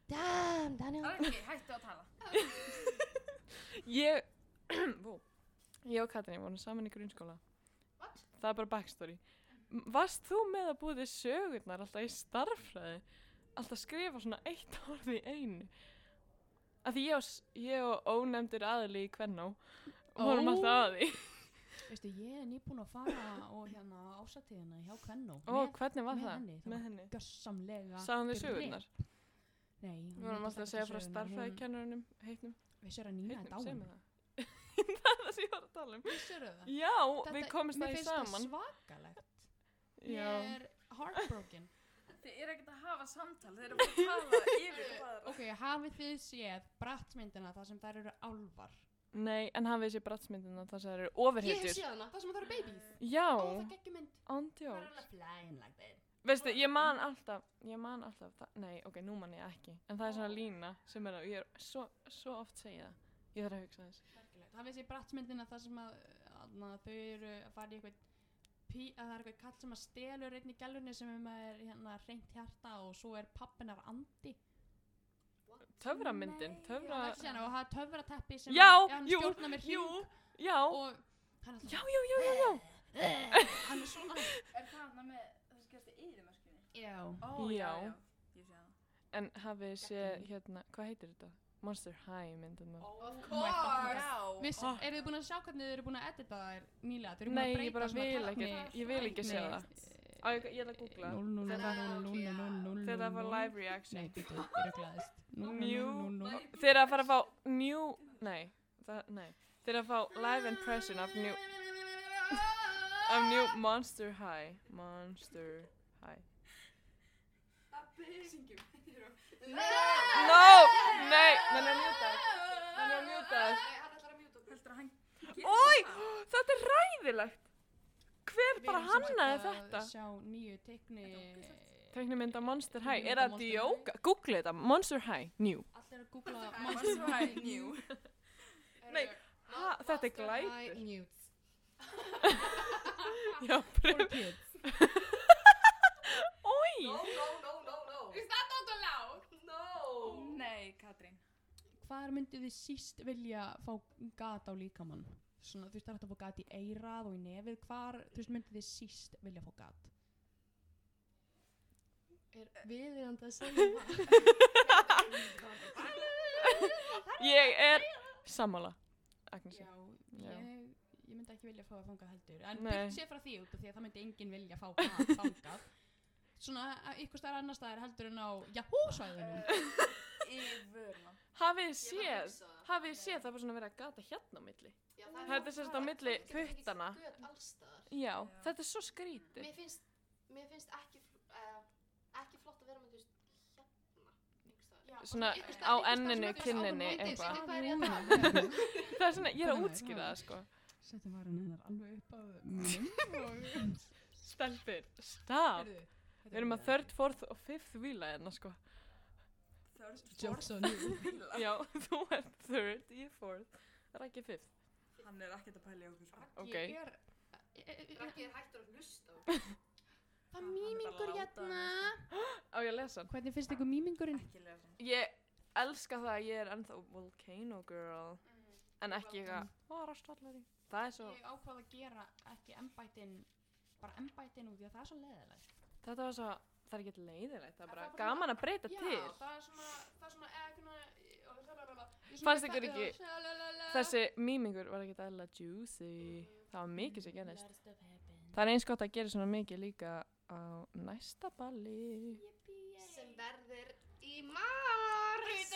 [SPEAKER 4] Damn, Daniel.
[SPEAKER 3] Raggi, hættu að tala.
[SPEAKER 1] ég, Vó. ég og Katrín vorum saman í grunnskóla.
[SPEAKER 4] What?
[SPEAKER 1] Það er bara backstory. M- Varst þú með að búið þér sögurnar alltaf í starffræði? Alltaf skrifa svona eitt orð í einu? Af því ég og, s- ég og ónefndur aðli í Kvennó vorum
[SPEAKER 2] Ó.
[SPEAKER 1] alltaf að því.
[SPEAKER 2] Veistu, ég er nýbúin að fara og hérna ásatíðina hjá Kvennó.
[SPEAKER 1] Ó, hvernig var
[SPEAKER 2] með
[SPEAKER 1] það?
[SPEAKER 2] henni, það
[SPEAKER 1] með
[SPEAKER 2] var
[SPEAKER 1] henni.
[SPEAKER 2] Gössamlega.
[SPEAKER 1] Sáðum þið sögurnar?
[SPEAKER 2] Nei. hún
[SPEAKER 1] Við vorum
[SPEAKER 2] myndi
[SPEAKER 1] alltaf að
[SPEAKER 2] taka
[SPEAKER 1] segja frá
[SPEAKER 2] sögurnar, hún-
[SPEAKER 1] starffræðikennurinnum, heitnum,
[SPEAKER 2] Vissir að Nína er
[SPEAKER 1] heitnum, segjum
[SPEAKER 2] dáin?
[SPEAKER 1] við það. það er það sem ég var að tala um.
[SPEAKER 2] Vissir það?
[SPEAKER 1] Já, við komumst það í
[SPEAKER 2] Mér
[SPEAKER 1] saman.
[SPEAKER 2] finnst það svakalegt.
[SPEAKER 1] Já.
[SPEAKER 2] Ég er heartbroken.
[SPEAKER 3] Þið eru ekkert að hafa samtal, þeir eru bara að tala yfir hvaðra.
[SPEAKER 2] ok, hafið þið séð brattmyndina þar sem þær eru álvar?
[SPEAKER 1] Nei, en hafið þessi brattsmyndina þar sem það eru
[SPEAKER 4] Ég hef
[SPEAKER 1] ofurhetjur.
[SPEAKER 4] séð hana, það sem að það eru babies.
[SPEAKER 1] Já,
[SPEAKER 4] Ó, það geggjum mynd.
[SPEAKER 2] Þær
[SPEAKER 1] andjóks.
[SPEAKER 2] eru flying like that.
[SPEAKER 1] Veistu, ég man alltaf, ég man alltaf, það, nei, ok, nú man ég ekki, en það er svona lína sem er að, ég er svo, svo oft segja það, ég þarf að hugsa þess.
[SPEAKER 2] Merkilegt. Hafið þið séð brattmyndina þar sem að, að þau eru að fara í eitthvað pí, að það er eitthvað kall sem að stelur einn í gælunni sem er með hérna reynt hjarta og svo er pappin af andi.
[SPEAKER 1] Töframyndin,
[SPEAKER 3] Nei,
[SPEAKER 1] töfra,
[SPEAKER 2] Það er síðan og það er töfrateppi sem
[SPEAKER 1] Já,
[SPEAKER 2] að, hann
[SPEAKER 1] jú,
[SPEAKER 2] stjórnar með
[SPEAKER 1] jú,
[SPEAKER 2] hring
[SPEAKER 1] já,
[SPEAKER 2] og hann er
[SPEAKER 1] já, já, já, já, já,
[SPEAKER 2] alltaf, hann er svona.
[SPEAKER 3] Er það hann með, það sem gerst í yðurmörkunni?
[SPEAKER 2] Já.
[SPEAKER 3] Ó,
[SPEAKER 1] Já.
[SPEAKER 3] já, já. Ég sé það.
[SPEAKER 1] en hafið sé,
[SPEAKER 2] Geggjum.
[SPEAKER 1] hérna, hvað heitir þetta? Monster High myndina.
[SPEAKER 2] Of
[SPEAKER 3] Oh Já.
[SPEAKER 2] Viss, oh. eru þið búin að sjá hvernig þið eru búin að edita þær nýlega? Þið eru búin
[SPEAKER 1] Ah. Nei,
[SPEAKER 2] að
[SPEAKER 1] ég
[SPEAKER 2] breyta
[SPEAKER 1] bara
[SPEAKER 2] svona
[SPEAKER 1] vil
[SPEAKER 2] tækni-
[SPEAKER 1] ekki- ég vil ekki sjá það. Á, ég, ég ætla að googla,
[SPEAKER 2] Núll, núll,
[SPEAKER 4] Þetta-
[SPEAKER 2] núll, núll, núll, núll, núll,
[SPEAKER 1] þegar það var
[SPEAKER 2] núll.
[SPEAKER 1] live
[SPEAKER 2] Nei,
[SPEAKER 1] reaction,
[SPEAKER 2] býttu, ég er glæðist. Núll,
[SPEAKER 1] Mjú.
[SPEAKER 2] núll, núll, núll.
[SPEAKER 1] þegar að fara að fá new, nei, það, nei, þegar að fá live impression af new, af new Monster High, Monster High. No, nei, hann er mjútaður Hann er mjútaður
[SPEAKER 3] Heldur að hann
[SPEAKER 1] Ói, þetta er ræðilegt Hver bara
[SPEAKER 2] Við erum sem
[SPEAKER 1] hannaði
[SPEAKER 2] sagt að
[SPEAKER 1] þetta?
[SPEAKER 2] Sjá nýju tekni.
[SPEAKER 1] Teknimynda Monster High, er
[SPEAKER 2] Teiknimynd af
[SPEAKER 1] það
[SPEAKER 2] Monster
[SPEAKER 1] djóka? Google þetta, Monster High, new
[SPEAKER 2] Allir að googla
[SPEAKER 3] Monster High New.
[SPEAKER 1] Nei, ha, þetta er
[SPEAKER 4] High
[SPEAKER 1] glæpur
[SPEAKER 4] Newts.
[SPEAKER 1] Já, pröf,
[SPEAKER 2] Kids.
[SPEAKER 1] ói
[SPEAKER 3] Nei, Katrín.
[SPEAKER 2] Hvar myndu þið síst vilja fá gat á líkamann? Svona, þú veist, það er hægt að fá gat í eirað og í nefið. Hvar, þú veist, myndu þið síst vilja fá gat?
[SPEAKER 4] Er viðeigandi að segja það?
[SPEAKER 1] Ég er sammála Agnesi
[SPEAKER 2] Já,
[SPEAKER 1] Já.
[SPEAKER 2] Ég, ég myndi ekki vilja fá að fangað heldur en
[SPEAKER 1] Nei.
[SPEAKER 2] byrjum sé frá því út af því að það myndi enginn vilja fá að fangað svona að ykkur staðar annar staðar heldur en á Yahoo svæðinu
[SPEAKER 3] Í vörna.
[SPEAKER 1] Hafið þið séð, hafið þið séð það er bara svona verið að gata hérna á milli Þetta er sérst á milli puttana Já,
[SPEAKER 3] Já.
[SPEAKER 1] þetta er svo skrítið
[SPEAKER 4] Mér finnst, mér finnst ekki, uh, ekki flott að vera með þú veist hérna. einhvers staðar.
[SPEAKER 1] Svona á
[SPEAKER 4] Einhvers staðar- einhvers staðar
[SPEAKER 1] enninu,
[SPEAKER 4] svona fyrir
[SPEAKER 1] kinninni,
[SPEAKER 4] áður en
[SPEAKER 1] eitthvað
[SPEAKER 4] myndin sýnir hvað er hérna.
[SPEAKER 1] Það er svona, ég er að
[SPEAKER 2] Svona,
[SPEAKER 1] útskýra
[SPEAKER 2] já.
[SPEAKER 1] það sko
[SPEAKER 2] setjum varan hennar alveg upp á munn
[SPEAKER 1] Stelpir, staf
[SPEAKER 2] og
[SPEAKER 1] Við erum að third, fourth og fifth vila hérna sko
[SPEAKER 2] Jokes on you.
[SPEAKER 3] Bíla.
[SPEAKER 1] Já, þú ert third, ég er fourth Rækki fifth
[SPEAKER 3] Hann er ekkert að pæla í okkur. sko.
[SPEAKER 1] Ok.
[SPEAKER 2] ég er
[SPEAKER 4] Raggi er hættur að hlusta.
[SPEAKER 2] Það er
[SPEAKER 3] Hann er bara
[SPEAKER 2] mýmingur
[SPEAKER 3] að láta
[SPEAKER 2] hérna.
[SPEAKER 1] Á ég að lesa hann?
[SPEAKER 2] Hvernig finnst ykkur mýmingurinn?
[SPEAKER 3] Ekki lesa hann.
[SPEAKER 1] Ég elska það að ég er ennþá volcano girl. En ekki eitthvað, hvað er rastvallari? Það er svo,
[SPEAKER 2] Ég ákvað að gera ekki embætin, bara embætin út því að það er svo leðilegt.
[SPEAKER 1] þetta var svo, það er ekki leiðilegt. Það er
[SPEAKER 2] En
[SPEAKER 1] bara
[SPEAKER 2] það er bara-
[SPEAKER 1] gaman að breyta til.
[SPEAKER 2] það er svona, það er svona, eða svona,
[SPEAKER 1] Fannst ykkur ekki Þessi mýmingur var ekki eðla juicy. Það var mikið sem gerist. Það er eins gott að gera svona mikið líka á næsta balli.
[SPEAKER 6] sem verður í mars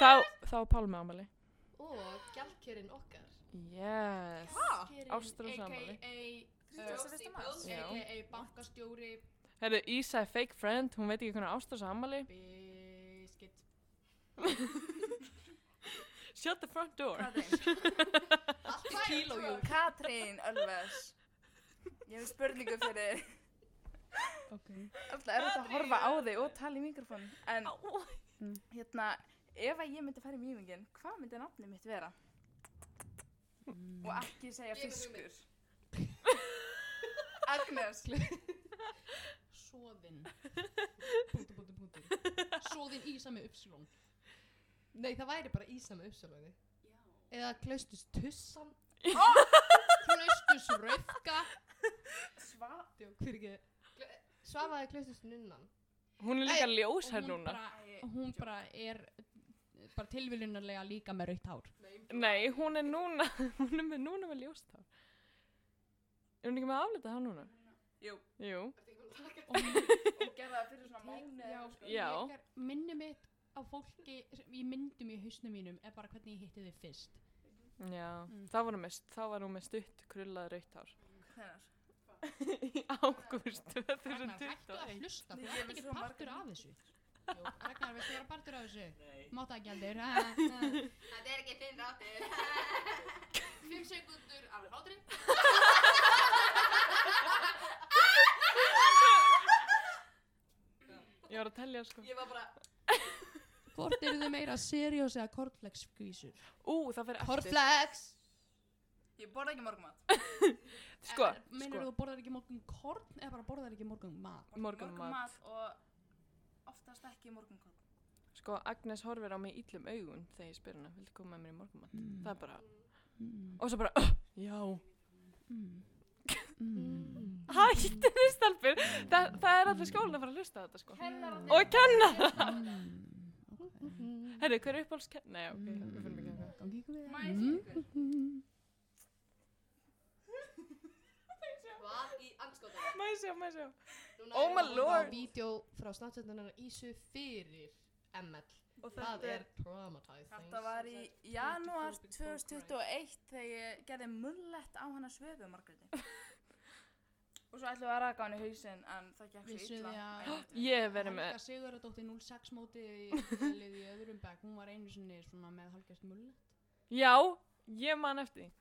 [SPEAKER 1] Þá, þá er Pálmi ámali.
[SPEAKER 6] og gjaldkjörin okkar
[SPEAKER 1] Yes.
[SPEAKER 2] Ah!
[SPEAKER 1] Ástrós afmæli.
[SPEAKER 2] A.k.a.
[SPEAKER 3] 31. mars.
[SPEAKER 1] Já.
[SPEAKER 2] A.k.a. bankastjóri
[SPEAKER 1] Herru, Ísa er fake friend, hún veit ekki hvernig ástrós ámali.
[SPEAKER 2] Biskit
[SPEAKER 1] Shut the front door.
[SPEAKER 3] Katrín.
[SPEAKER 6] allt er kíló jú
[SPEAKER 3] Katrín Ölvers. Ég hef spurningu fyrir.
[SPEAKER 2] Ok
[SPEAKER 3] Alltaf er þetta að horfa á þig og tala í mikrofón. En hérna, ef að ég myndi fara í mýmingin, hvað myndi nafnið mitt vera? Og ekki segja
[SPEAKER 6] Ég hef
[SPEAKER 3] fiskur. Agnes.
[SPEAKER 2] Soðin Búti, búti, búti Soðin ísa með uppsilón
[SPEAKER 4] Nei, það væri bara Ísa með uppsalóni. Eða klaustust tussan.
[SPEAKER 2] Klaustus rauðka
[SPEAKER 3] Sva?
[SPEAKER 4] Djók, hver ekki. Svafaði klaustust nunnan.
[SPEAKER 1] Hún er líka ljós
[SPEAKER 2] Og
[SPEAKER 1] hér
[SPEAKER 2] hún
[SPEAKER 1] núna.
[SPEAKER 2] bara, hún bara er bara tilviljunarlega líka með rautt hár
[SPEAKER 1] Nei, hún er núna, hún er með núna með ljóst hár. Er hún ekki með aflitað hár núna?
[SPEAKER 3] Jú.
[SPEAKER 1] Jú.
[SPEAKER 2] og hún
[SPEAKER 3] Ég gerði það fyrir svona mánu.
[SPEAKER 2] já,
[SPEAKER 3] sko.
[SPEAKER 1] Já.
[SPEAKER 2] ég er- minni mitt á fólki sem- í myndum í hausnum mínum er bara hvernig ég hitti þið fyrst
[SPEAKER 1] Já,
[SPEAKER 2] Mm.
[SPEAKER 1] þá, var hún með, þá var hún með stutt krullað rautt hár.
[SPEAKER 3] Hvenær?
[SPEAKER 1] Í ágúst
[SPEAKER 2] Ragnar, hættu
[SPEAKER 1] 2021.
[SPEAKER 2] að hlusta, þú
[SPEAKER 3] Nei, ég
[SPEAKER 2] ert
[SPEAKER 3] er
[SPEAKER 2] ekki
[SPEAKER 3] svo margar
[SPEAKER 2] partur af þessu Jú, Ragnar, viltu vera partur af þessu?
[SPEAKER 5] Nei.
[SPEAKER 2] Máta ekki aldur
[SPEAKER 6] það er ekki þinn ráttur
[SPEAKER 2] 5 sekundur af hlátri
[SPEAKER 1] Ég var að tellja sko.
[SPEAKER 6] ég var bara
[SPEAKER 2] Hvort eru þið meira seriós eða kortflex skvísur?
[SPEAKER 1] Ú, það fyrir eftir.
[SPEAKER 4] Korflex!
[SPEAKER 3] Ég borða ekki morgumat.
[SPEAKER 1] Sko,
[SPEAKER 2] Meinar
[SPEAKER 1] sko.
[SPEAKER 2] þú borðar ekki morgun korn eða bara borðar ekki morgun mat?
[SPEAKER 1] Morgunmat.
[SPEAKER 3] og oftast ekki morgunkorn.
[SPEAKER 1] Sko, Agnes horfir á mig illum augun þegar ég spyr hana, viltu koma með mér í morgumann?
[SPEAKER 2] Mm.
[SPEAKER 1] Það er bara,
[SPEAKER 2] Mm,
[SPEAKER 1] og svo bara, "Ugh, já.
[SPEAKER 2] mm, mm.
[SPEAKER 1] Hætti þið stelpur, Þa, það er allir skólinn að fara að hlusta á þetta sko.
[SPEAKER 6] kennararnir
[SPEAKER 1] Og kenna það.
[SPEAKER 2] Mm,
[SPEAKER 4] Mhm.
[SPEAKER 1] Herru, hver er uppáhalds kenna? Nei, ok,
[SPEAKER 2] Mm.
[SPEAKER 1] við fyrir mig kenna.
[SPEAKER 2] Gangi ykkur vel. Mm.
[SPEAKER 6] hvað í anskotan
[SPEAKER 1] Má ég sjá, má ég sjá.
[SPEAKER 4] Núna
[SPEAKER 1] Oh
[SPEAKER 4] erum
[SPEAKER 1] my
[SPEAKER 4] við að horfa á
[SPEAKER 1] lord.
[SPEAKER 4] Vídeó frá snartjöndunar Ísu fyrir ML.
[SPEAKER 3] Og
[SPEAKER 4] Það
[SPEAKER 3] þetta-
[SPEAKER 4] er traumatizing.
[SPEAKER 3] Þetta var í janúar 2021 þegar ég gerði mullett á hana svöfu Margréti. og svo ætlum við að raka hann í hausinn en það gekk svo
[SPEAKER 2] Vissuð þið
[SPEAKER 3] illa.
[SPEAKER 2] að-
[SPEAKER 3] Ég...
[SPEAKER 1] Ég hef verið með,
[SPEAKER 2] Helga Sigurðardóttir 06 móti liðið í öðrum bekk, hún var einu sinni svona með halgjast mullet
[SPEAKER 1] já, ég man eftir. því.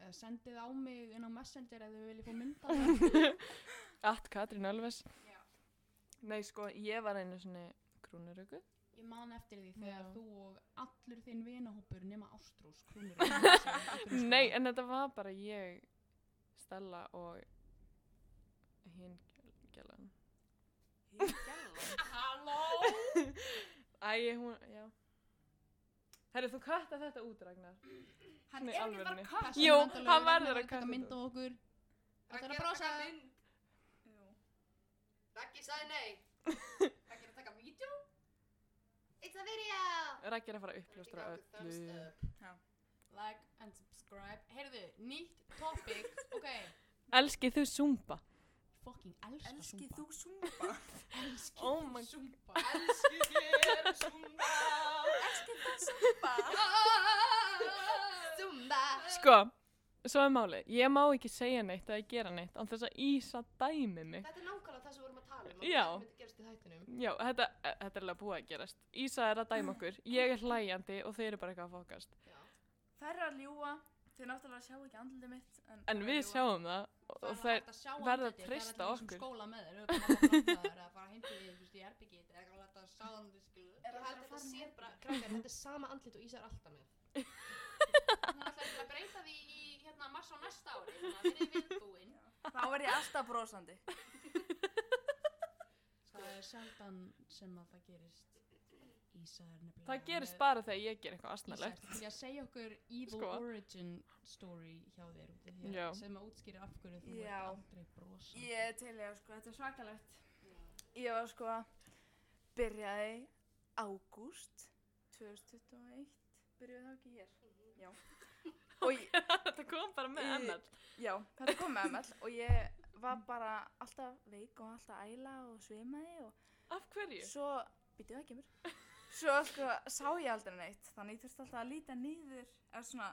[SPEAKER 2] Eh, sendið á mig inn á Messenger ef þið viljið fá mynda það
[SPEAKER 1] Allt Katrín Ölves. Nei, sko, ég var einu svona grúnuröku.
[SPEAKER 2] ég man eftir því þegar
[SPEAKER 1] Já.
[SPEAKER 2] þú og allur þinn vinahópur nema Ástrós krúnur á Messenger.
[SPEAKER 1] Nei, en þetta var bara ég, Stella og hinn gælan. Æ, hún, já. Herru, þú katta þetta út, Ragnar.
[SPEAKER 3] Hann
[SPEAKER 1] Nei,
[SPEAKER 3] er ekki
[SPEAKER 1] alvörinni.
[SPEAKER 3] bara kast.
[SPEAKER 1] Jú, hann verður að
[SPEAKER 2] taka
[SPEAKER 1] kasta
[SPEAKER 2] mynd á okkur
[SPEAKER 6] Raggi
[SPEAKER 2] Þetta er að
[SPEAKER 6] að
[SPEAKER 2] brosa
[SPEAKER 6] taka mynd. Raggi sagði nei Raggi er að taka vídeo it's a video
[SPEAKER 1] Raggi er að fara að uppljóstra
[SPEAKER 6] Raggi gáði thumbs
[SPEAKER 1] öllu.
[SPEAKER 6] up.
[SPEAKER 2] like and subscribe heyrðu, nýtt topic ok,
[SPEAKER 1] Elski þú Zumba?
[SPEAKER 2] fucking elska
[SPEAKER 3] Elski
[SPEAKER 2] Zumba.
[SPEAKER 3] þú súmba?
[SPEAKER 2] elski
[SPEAKER 1] Oh
[SPEAKER 2] þú
[SPEAKER 1] my-
[SPEAKER 2] Zumba
[SPEAKER 6] elski þér Zumba
[SPEAKER 3] Elski þú súmba?
[SPEAKER 6] Zumba
[SPEAKER 1] Sko, svo er málið. Ég má ekki segja neitt eða gera neitt án þess að Ísa dæmi mig.
[SPEAKER 6] Þetta er nákvæmlega það sem við vorum að tala um að
[SPEAKER 1] Já.
[SPEAKER 4] Það myndi gerast í þættinum.
[SPEAKER 1] Já, þetta, eh, þetta er alveg búið að gerast. Ísa er að dæma okkur, ég er hlæjandi og þeir eru bara eitthvað að fokast.
[SPEAKER 3] Það er að ljúa. Þið náttúrulega sjáu ekki andlið mitt. En,
[SPEAKER 1] En við sjáum það og- og þeir, verða að treysta okkur.
[SPEAKER 2] skóla með þeir, þau eru bara að láta þeir að fara hindi því, þú veist, í erbyggið eða eitthvað að láta sjá þeim, þú skilu
[SPEAKER 6] Ég held að það sé bara krakkar
[SPEAKER 4] Þetta er sama andlit og Ísa er alltaf með.
[SPEAKER 2] hún ætlaði til að breyta því í hérna mars á næsta ári þannig að þeir eru viðbúin
[SPEAKER 3] Þá er ég alltaf brosandi.
[SPEAKER 2] Það er sjaldan sem að það gerist. Ísa er nefnilega...
[SPEAKER 1] Það gerist bara þegar ég ger eitthvað
[SPEAKER 2] Ísa er
[SPEAKER 1] astnalegt.
[SPEAKER 2] til í að segja okkur evil
[SPEAKER 1] Sko.
[SPEAKER 2] origin story hjá þér út í
[SPEAKER 1] Já.
[SPEAKER 2] þér sem að útskýri af hverju þú
[SPEAKER 3] Já.
[SPEAKER 2] ert aldrei brosa.
[SPEAKER 3] Ég er til ég að sko, þetta er svakalegt. Ég var sko, byrjaði ágúst 2021, byrjuði það ekki hér? Já. Og ég,
[SPEAKER 1] Þetta kom bara með
[SPEAKER 3] Í-
[SPEAKER 1] annars.
[SPEAKER 3] Já, þetta kom með ML og ég var bara alltaf veik og alltaf æla og svimaði og
[SPEAKER 1] Af hverju?
[SPEAKER 3] svo, býttu það kemur, svo sko sá ég aldrei neitt, þannig ég þurfti alltaf að líta niður, eða svona,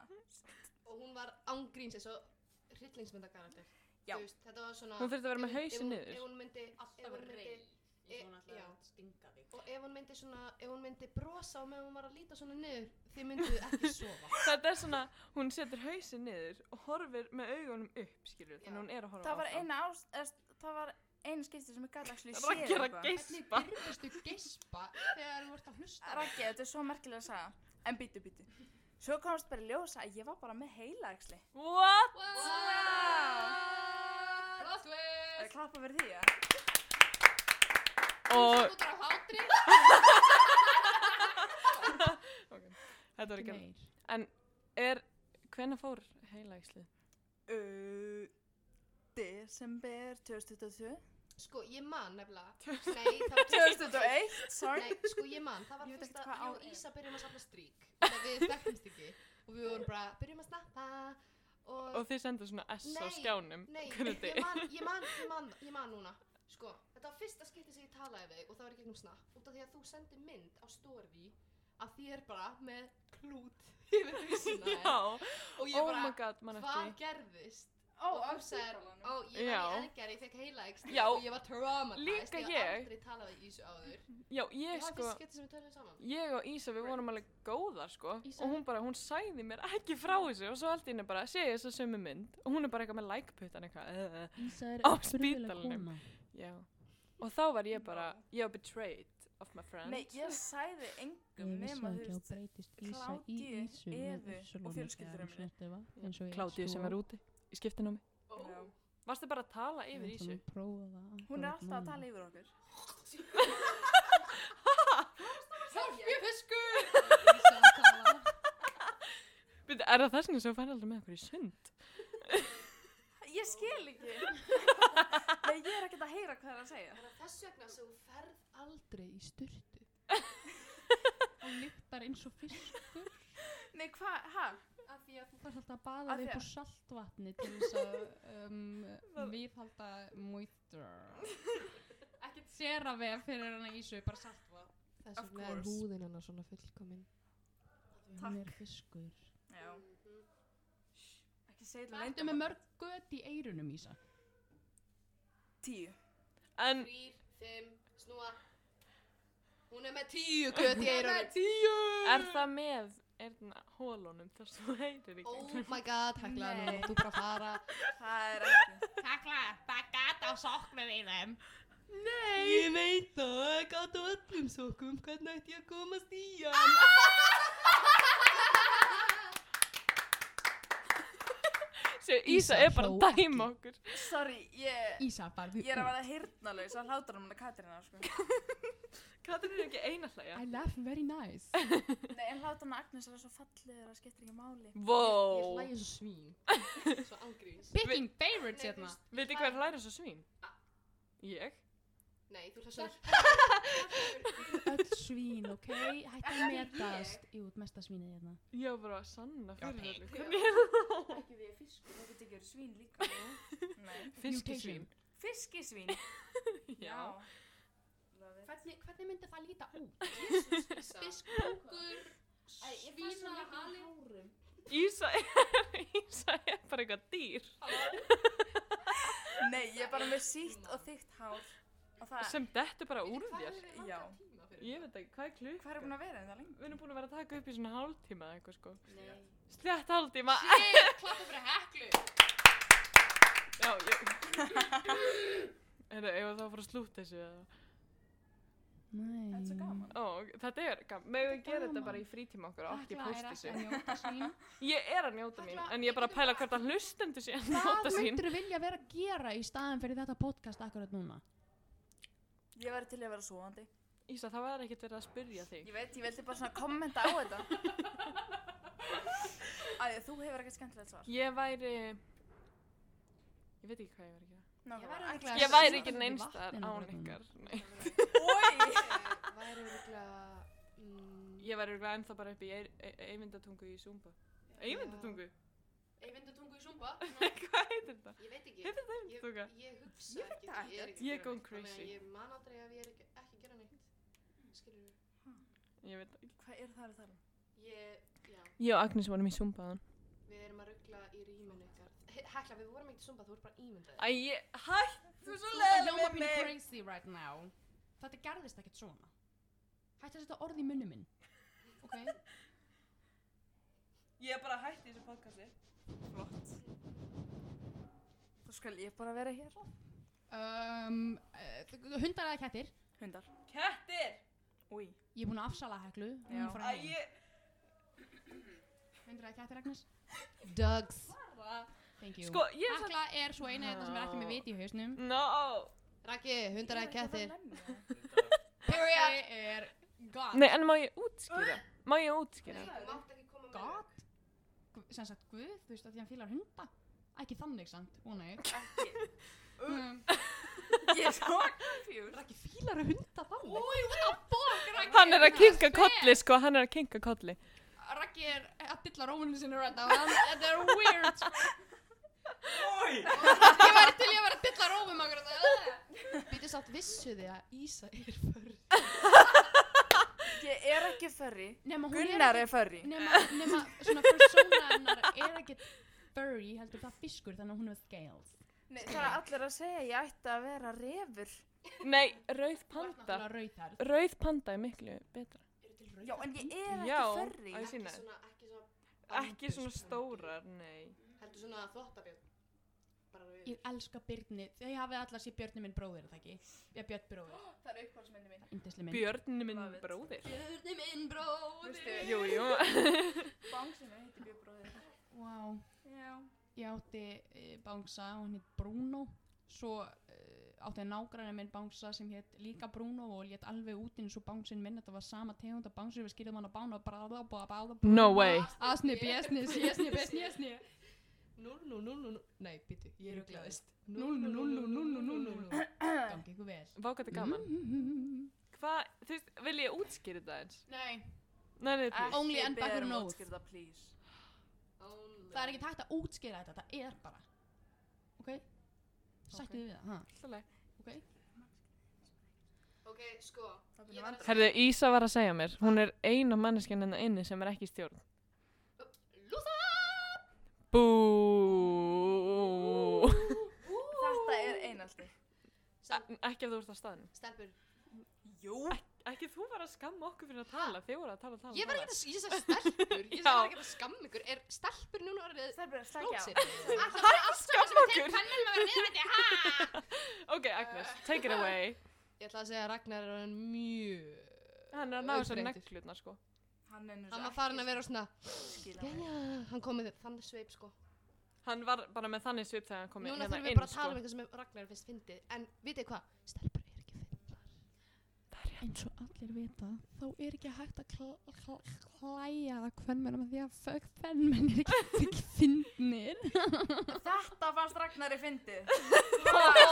[SPEAKER 4] Og hún var ángríns eins og hryllingsmyndakarakter.
[SPEAKER 3] Já.
[SPEAKER 4] Þú veist, þetta var svona...
[SPEAKER 1] Hún þurfti að vera með
[SPEAKER 4] ef hún-
[SPEAKER 1] hausinn
[SPEAKER 4] ef hún-
[SPEAKER 1] niður.
[SPEAKER 4] Ef hún myndi... ef
[SPEAKER 7] Alltaf
[SPEAKER 4] hún myndi-
[SPEAKER 7] reyð. Ég
[SPEAKER 4] e-
[SPEAKER 7] svona
[SPEAKER 4] já.
[SPEAKER 7] alltaf að stinga þig.
[SPEAKER 4] Og ef hún myndi svona, ef hún myndi brosa og meðan hún var að líta svona niður, þið myndu ekki sofa.
[SPEAKER 1] Þetta er svona, hún setur hausin niður og horfir með augunum upp, skilur.
[SPEAKER 4] Já.
[SPEAKER 1] Þannig hún er að horfa
[SPEAKER 3] það var
[SPEAKER 1] áfram.
[SPEAKER 3] eina ást, eða, það var eina skipti sem ég gæti ekki séð
[SPEAKER 1] Raggi er að
[SPEAKER 2] Hvernig
[SPEAKER 1] geispa.
[SPEAKER 2] byrjastu geispa þegar þú ert að hlusta?
[SPEAKER 3] Raggi, þetta er svo merkilega að sagja, en býttu, býttu. Svo komst bara í ljós að ég var bara með heilaæksli.
[SPEAKER 1] What?
[SPEAKER 2] Plot
[SPEAKER 3] Það
[SPEAKER 2] twist!
[SPEAKER 3] klappa verið því, ja?
[SPEAKER 1] Og,
[SPEAKER 2] Þú er á hátri?
[SPEAKER 1] þetta var ekki,
[SPEAKER 2] Meir.
[SPEAKER 1] er, hvenær fór heilægslið?
[SPEAKER 3] Uh, Desember 2022.
[SPEAKER 4] Sko, ég man nefnilega. Nei, það var
[SPEAKER 3] 2001, sorry.
[SPEAKER 4] Nei, sko ég mann, það var
[SPEAKER 3] Ég veit
[SPEAKER 4] fyrst
[SPEAKER 3] ekkert
[SPEAKER 4] að
[SPEAKER 3] hvað
[SPEAKER 4] ég
[SPEAKER 3] ár
[SPEAKER 4] og
[SPEAKER 3] er.
[SPEAKER 4] Ísa byrjum að safna strík og við þekktumst ekki og við vorum bara, byrjum að snappa og,
[SPEAKER 1] Og þið sendur svona S á
[SPEAKER 4] Nei,
[SPEAKER 1] skjánum.
[SPEAKER 4] nei,
[SPEAKER 1] hvernig
[SPEAKER 4] ég
[SPEAKER 1] þið-
[SPEAKER 4] man, ég man, ég man, ég man núna sko, þetta var fyrsta skipti sem ég talaði við þig og það var í gegnum snapp, út af því að þú sendir mynd á story að þér bara með klút yfir hausina
[SPEAKER 1] Já,
[SPEAKER 4] þér. og ég
[SPEAKER 1] oh my
[SPEAKER 4] bara,
[SPEAKER 1] god, mann
[SPEAKER 4] hvað
[SPEAKER 1] eftir.
[SPEAKER 4] gerðist
[SPEAKER 3] Ó,
[SPEAKER 4] og
[SPEAKER 3] á
[SPEAKER 4] þú sagðir,
[SPEAKER 3] spítalanum.
[SPEAKER 4] ó, ég var
[SPEAKER 1] Já.
[SPEAKER 4] í elgar, ég fekk heila
[SPEAKER 1] Já.
[SPEAKER 4] og ég var traumatized,
[SPEAKER 1] Líka
[SPEAKER 4] ég hafði
[SPEAKER 1] ég.
[SPEAKER 4] aldrei talað við Ísu áður
[SPEAKER 1] Já, ég
[SPEAKER 4] það var
[SPEAKER 1] sko,
[SPEAKER 4] fyrst skipti sem við töluðum saman
[SPEAKER 1] ég og Ísa, við vorum alveg góðar sko
[SPEAKER 4] Ísa-
[SPEAKER 1] og hún bara, hún sæði mér ekki frá þessu og svo allt í henni bara, sé ég þess að sömu mynd og hún er bara eitthvað með lækputtan eitthvað eh, eh.
[SPEAKER 2] Ísa er
[SPEAKER 1] Á
[SPEAKER 2] furðuleg
[SPEAKER 1] spítalanum.
[SPEAKER 2] kona.
[SPEAKER 1] já, og þá var ég bara ég var betrayed of my friends
[SPEAKER 3] Nei, ég sæði engum
[SPEAKER 2] Ég vissi
[SPEAKER 3] nema,
[SPEAKER 2] það ekki
[SPEAKER 3] þú
[SPEAKER 2] og
[SPEAKER 3] veist,
[SPEAKER 2] breytist Ísa í
[SPEAKER 3] Kládíu,
[SPEAKER 2] Ísu
[SPEAKER 3] Evu og fjölskyldurnar mínar.
[SPEAKER 2] minni.
[SPEAKER 1] Kládíu sem
[SPEAKER 2] sko.
[SPEAKER 1] er úti í skiptinómi
[SPEAKER 3] já.
[SPEAKER 1] varstu bara að tala yfir Ísu
[SPEAKER 3] hún er alltaf að tala yfir okkur.
[SPEAKER 2] Ísa að tala.
[SPEAKER 1] Bíddu, er það þess vegna sem þú fær aldrei með okkur í sund
[SPEAKER 3] Ég skil ekki. Nei, ég er ekkert að heyra hvað það er að segja.
[SPEAKER 4] Þannig að þess vegna sem þú ferð
[SPEAKER 2] Aldrei í styrtu. Og lyktar eins og fiskur.
[SPEAKER 3] Nei, hvað, hæ?
[SPEAKER 4] af því að
[SPEAKER 2] Þú fannst alltaf að baða
[SPEAKER 3] Af
[SPEAKER 2] þig
[SPEAKER 3] því
[SPEAKER 2] upp úr saltvatni til þess að um,
[SPEAKER 1] Það-
[SPEAKER 2] viðhalda moisture. Ekkert sér að vega fyrir hana Ísu, bara saltvatn.
[SPEAKER 4] þess
[SPEAKER 3] Of
[SPEAKER 4] vegna
[SPEAKER 3] course.
[SPEAKER 4] er
[SPEAKER 8] Húðin hennar svona fullkomin.
[SPEAKER 2] Hún er fiskur.
[SPEAKER 3] Já, ekki segja til
[SPEAKER 2] Ertu með mörg gött í eirunum, Ísa?
[SPEAKER 3] Tíu.
[SPEAKER 1] en
[SPEAKER 4] þrýr, fimm, snúa hún er með tíu gött í eyrunum
[SPEAKER 1] tíu er það með erna hólunum þar sem þú heyrir í
[SPEAKER 4] oh
[SPEAKER 1] gegnum?
[SPEAKER 4] my god, hekla
[SPEAKER 3] Nei.
[SPEAKER 4] hann og þú bara fara
[SPEAKER 3] Það er ekki.
[SPEAKER 2] Takla, það gata á soknum í þeim.
[SPEAKER 4] nei, ég veit það, gátt á öllum sokkum hvernig ætti ég að komast í hann
[SPEAKER 1] Sjö, Ísa er bara
[SPEAKER 2] hló
[SPEAKER 1] að dæma okkur
[SPEAKER 3] Sorry, ég,
[SPEAKER 2] Ísa, farðu
[SPEAKER 3] ég er að vera hirtnalaus að hlátur um hana Katrína, sko.
[SPEAKER 1] Katrin er ekki eina hlæja
[SPEAKER 2] I laugh very nice.
[SPEAKER 3] Nei, en hlátur um Agnes er svo fallegur að skiptir ekki máli.
[SPEAKER 4] ég
[SPEAKER 1] wow.
[SPEAKER 4] hlæði svo svín svo angriðis
[SPEAKER 2] Picking favorites
[SPEAKER 4] Nei,
[SPEAKER 2] hérna.
[SPEAKER 4] þú-
[SPEAKER 1] Veitir hver hlæra svo svín? Ég?
[SPEAKER 4] nei, þú hlæði svo
[SPEAKER 2] Öll svín, ok? Hætti að metast.
[SPEAKER 4] metast.
[SPEAKER 2] Jú, mesta svínið hérna.
[SPEAKER 1] Já, bara að sanna fyrir
[SPEAKER 2] pig.
[SPEAKER 1] þessu. Hvernig er
[SPEAKER 3] Ekki við fiskur, það getur ekki verið svín líka. Nei.
[SPEAKER 1] fiskisvín?
[SPEAKER 3] Fiskisvín?
[SPEAKER 1] Já.
[SPEAKER 4] hvernig, hvernig myndi það líta út? Jesus, Lisa.
[SPEAKER 2] Fiskbókur,
[SPEAKER 4] Æ, ég fæ svo mikið í
[SPEAKER 2] hali.
[SPEAKER 4] hárum.
[SPEAKER 1] Ísa er, Ísa er bara eitthvað dýr
[SPEAKER 3] Nei, ég er bara með sítt og þykkt hár. Og það,
[SPEAKER 1] sem dettur bara úr þér.
[SPEAKER 4] Hvað erum við langan
[SPEAKER 3] Já.
[SPEAKER 4] tíma fyrir
[SPEAKER 1] Ég veit ekki, hvað er klukkan?
[SPEAKER 3] hvað er búin að vera þetta lengi?
[SPEAKER 1] Við erum búin að vera að taka upp í svona hálftíma eða eitthvað sko.
[SPEAKER 4] þetta? Nei.
[SPEAKER 1] Slett hálftíma.
[SPEAKER 4] Shit, klappa fyrir heklu
[SPEAKER 1] Já, ég... Þetta, ef það fór að slúta þessu eða...
[SPEAKER 2] Nei.
[SPEAKER 3] Þetta er svo gaman.
[SPEAKER 1] Ó, ok, þetta er gaman. Megum við
[SPEAKER 2] Þetta er
[SPEAKER 1] gera þetta
[SPEAKER 2] gaman.
[SPEAKER 1] bara í frítíma okkur og ekki
[SPEAKER 2] Hekla
[SPEAKER 1] posta
[SPEAKER 2] er ekki að
[SPEAKER 1] sín.
[SPEAKER 2] njóta sín.
[SPEAKER 1] Ég er að njóta mín,
[SPEAKER 6] Hekla,
[SPEAKER 1] en ég er bara
[SPEAKER 6] getur
[SPEAKER 1] að pæla
[SPEAKER 6] þú-
[SPEAKER 1] hvort að hlustendur sé að
[SPEAKER 2] Hvað
[SPEAKER 1] njóta sín.
[SPEAKER 2] myndir þú vilja vera að gera í staðan fyrir þetta podcast akkurat núna?
[SPEAKER 3] Ég væri til í að vera svoandi.
[SPEAKER 1] Ísa, það var ekkert verið að spyrja þig.
[SPEAKER 3] Ég veit, ég veldi bara svona kommenta á þetta. Æja, þú hefur ekkert skemmtilegt svar.
[SPEAKER 1] Ég væri... Ég veit ekki hvað ég væri að gera.
[SPEAKER 2] Það er
[SPEAKER 1] Ég
[SPEAKER 2] svo-
[SPEAKER 1] væri
[SPEAKER 2] svo-
[SPEAKER 1] ekki
[SPEAKER 2] svo-
[SPEAKER 1] neinstar
[SPEAKER 2] vatninu
[SPEAKER 1] án
[SPEAKER 2] þarna.
[SPEAKER 1] ykkar. Nei.
[SPEAKER 3] Ói!
[SPEAKER 6] Ég væri virkulega... Mm,
[SPEAKER 1] Ég væri örugglega ennþá bara upp í Eir- E- eyvindatungu í Zumba. Eyvindatungu?
[SPEAKER 6] Eyvindatungu í Zumba?
[SPEAKER 1] Hvað heitir þetta?
[SPEAKER 6] Ég veit ekki.
[SPEAKER 1] Heitir þetta
[SPEAKER 6] Ég,
[SPEAKER 1] eyvindatunga?
[SPEAKER 6] ég hugsa ekki, ég er ekki
[SPEAKER 1] Ég
[SPEAKER 6] að
[SPEAKER 1] gone
[SPEAKER 6] gera neitt, þannig að
[SPEAKER 1] crazy.
[SPEAKER 6] Ég man aldrei að ég er ekki, ekki að gera neitt. Skilur við?
[SPEAKER 1] Ég veit ekki.
[SPEAKER 3] Hvað eru það að tala um?
[SPEAKER 6] Ég, já,
[SPEAKER 1] Ég og Agnes vorum í Zumbaðan.
[SPEAKER 6] við erum að ruggla í rýminu ykkar. He- Hekla, við vorum ekki í Zumba, þú ert bara ímyndað.
[SPEAKER 1] Æ, ég- hæ!
[SPEAKER 3] Þú er svo
[SPEAKER 2] Þú ert að hljóma pínu crazy right now. Þetta gerðist ekkert svona. Hætti að setja orð í munni minn. Ok?
[SPEAKER 1] Ég er bara hætti í þessu podcasti.
[SPEAKER 3] Flott. Þá skal ég bara vera hér.
[SPEAKER 2] Um, uh, hundar eða kettir.
[SPEAKER 3] Hundar.
[SPEAKER 1] Kettir!
[SPEAKER 3] Úi.
[SPEAKER 2] Ég er búin að afsala heklu. Hún
[SPEAKER 3] Já.
[SPEAKER 2] er frá heim. Hundar eða kettir, Agnes?
[SPEAKER 4] Dogs.
[SPEAKER 2] Thank you.
[SPEAKER 1] Sko, ég Mm. er svo...
[SPEAKER 2] Hekla er svo eina þetta sem er ekki með viti í hausnum.
[SPEAKER 1] No!
[SPEAKER 6] Raki, hundar eða kettir.
[SPEAKER 2] Period! er god.
[SPEAKER 1] Nei, en má ég útskýra? Má ég útskýra?
[SPEAKER 6] Þú mátt ekki koma með
[SPEAKER 2] God? Gu- Sem sagt, guð, þú veist að því hann fílar hunda. Ekki þannig samt, ó nei.
[SPEAKER 3] Ekki.
[SPEAKER 2] Um,
[SPEAKER 3] Ég er svo confused.
[SPEAKER 2] Raki fílar að hunda þannig. Úi, what the fuck, Raki?
[SPEAKER 1] Hann er að kinka
[SPEAKER 2] Spes.
[SPEAKER 1] kolli, sko, hann er að kinka kolli.
[SPEAKER 2] Raggi er að bylla rómunni sinni right now hann- Þetta er weird sko. Ég væri til í að vera að bylla rómum akkur þetta
[SPEAKER 6] Býtu sátt vissu þið að Ísa er förð.
[SPEAKER 3] Ég er ekki furry.
[SPEAKER 2] Nefna
[SPEAKER 3] Gunnar er furry.
[SPEAKER 2] Nefna, nefna svona persóna hennar er ekkert furry heldur það fiskur þannig að hún hefur scales
[SPEAKER 3] Nei, það er allir að segja að ég ætti að vera refur.
[SPEAKER 1] Nei, rauð
[SPEAKER 2] Þú ert
[SPEAKER 1] panda.
[SPEAKER 2] náttúrulega rauðhærð.
[SPEAKER 1] Rauð panda er miklu betra.
[SPEAKER 6] Eru til rauð?
[SPEAKER 3] Já, en ég er
[SPEAKER 1] Já,
[SPEAKER 3] ekki furry.
[SPEAKER 1] að-
[SPEAKER 6] Ekki
[SPEAKER 1] Sýna.
[SPEAKER 6] svona, ekki svona,
[SPEAKER 1] Ekki svona stórar, nei.
[SPEAKER 6] heldur svona þvottabjörn. Bara rauður.
[SPEAKER 2] Ég elska Byrni Þegar ég hafi allar sé Björni minn bróðir er það ekki Ég er Björn bróðir
[SPEAKER 3] Það er upphaldsmyndi mín.
[SPEAKER 2] Indisli minn
[SPEAKER 1] Björn minn
[SPEAKER 3] Vafið.
[SPEAKER 1] bróðir.
[SPEAKER 6] Björni minn bróðir.
[SPEAKER 3] Veistu-
[SPEAKER 1] Jú, jú.
[SPEAKER 3] Bangsi minn heitir bjöbróðið.
[SPEAKER 2] Wow
[SPEAKER 3] Já.
[SPEAKER 2] Ég átti uh, bangsa og hann hétt Bruno Svo uh, átti nágræni minn bangsa sem hétt líka Bruno og létt alveg út eins og bangsin minn Þetta var sama tegund af bangsi við skýrðum hann að bána og bráða og báða
[SPEAKER 1] No way.
[SPEAKER 2] Asni, bjesni, sjesni, besni, jesni
[SPEAKER 6] Núl, núl, núl, núl, núl. Nei, býtu, ég er uglaðist.
[SPEAKER 2] Núl, núl, núl, núl, núl, núl, núl, núl Gangi ykkur vel
[SPEAKER 1] Vá, hvað þetta er gaman.
[SPEAKER 2] Mm.
[SPEAKER 1] Hvað, þú veist, vil ég útskýra þetta eins?
[SPEAKER 2] Nei,
[SPEAKER 1] Nei, nei, please.
[SPEAKER 2] Only and back
[SPEAKER 3] berum
[SPEAKER 2] on oath.
[SPEAKER 3] útskýrða, please.
[SPEAKER 6] Only.
[SPEAKER 2] það er ekki takt að útskýra þetta, það er bara Ok? Sættu þið við það, ha?
[SPEAKER 1] Allt í lagi.
[SPEAKER 2] Ok?
[SPEAKER 6] Ok, sko.
[SPEAKER 3] Það
[SPEAKER 6] Ég
[SPEAKER 3] finnir
[SPEAKER 6] var-
[SPEAKER 3] vandræði.
[SPEAKER 1] Herðu, Ísa var að segja mér, hún er eina manneskjan hennar inni sem er ekki í stjórn.
[SPEAKER 6] Lúsa!
[SPEAKER 1] Bú.
[SPEAKER 3] Þetta er einaldi.
[SPEAKER 1] Ekki ef þú ert á staðnum.
[SPEAKER 6] Stelpur.
[SPEAKER 3] Jú.
[SPEAKER 1] Ekki þú var að skamma okkur fyrir að tala, þið voru að tala, tala,
[SPEAKER 6] Ég var
[SPEAKER 1] tala.
[SPEAKER 6] ekki að, ég sagði stelpur. Ég
[SPEAKER 1] Já.
[SPEAKER 6] sagði ekki að skamma ykkur. Er stelpur núna orðið
[SPEAKER 3] Það er bara að slækja á.
[SPEAKER 6] blótsir? Alltaf
[SPEAKER 1] Hæ, skamma okkur!
[SPEAKER 6] pennum að vera niðrætti, ha!
[SPEAKER 1] Ok, Agnes, take it away.
[SPEAKER 6] Ég ætla að segja að Ragnar er orðin mjög...
[SPEAKER 1] Hann er að ná þessar
[SPEAKER 6] Uppreyndur.
[SPEAKER 1] neglutna, sko.
[SPEAKER 3] Hann er
[SPEAKER 6] Hann var farin að vera svona...
[SPEAKER 3] skila.
[SPEAKER 6] Já, já, hann kom með þann sveip, sko.
[SPEAKER 1] Hann var bara með þannig svip þegar hann kom hérna
[SPEAKER 6] Núna þurfum við
[SPEAKER 1] inn,
[SPEAKER 6] bara
[SPEAKER 1] sko.
[SPEAKER 6] að tala um eitthvað sem Ragnar finnst fyndið. En, vitið hvað? Stelpur er ekki fyndnar.
[SPEAKER 2] eins og allir vita þá er ekki hægt að kl kl klæja það kvennmenn með því að fuck kvennmenn er ekki fyrir fyndnir
[SPEAKER 3] Þetta fannst Ragnari fyndið.
[SPEAKER 6] Það er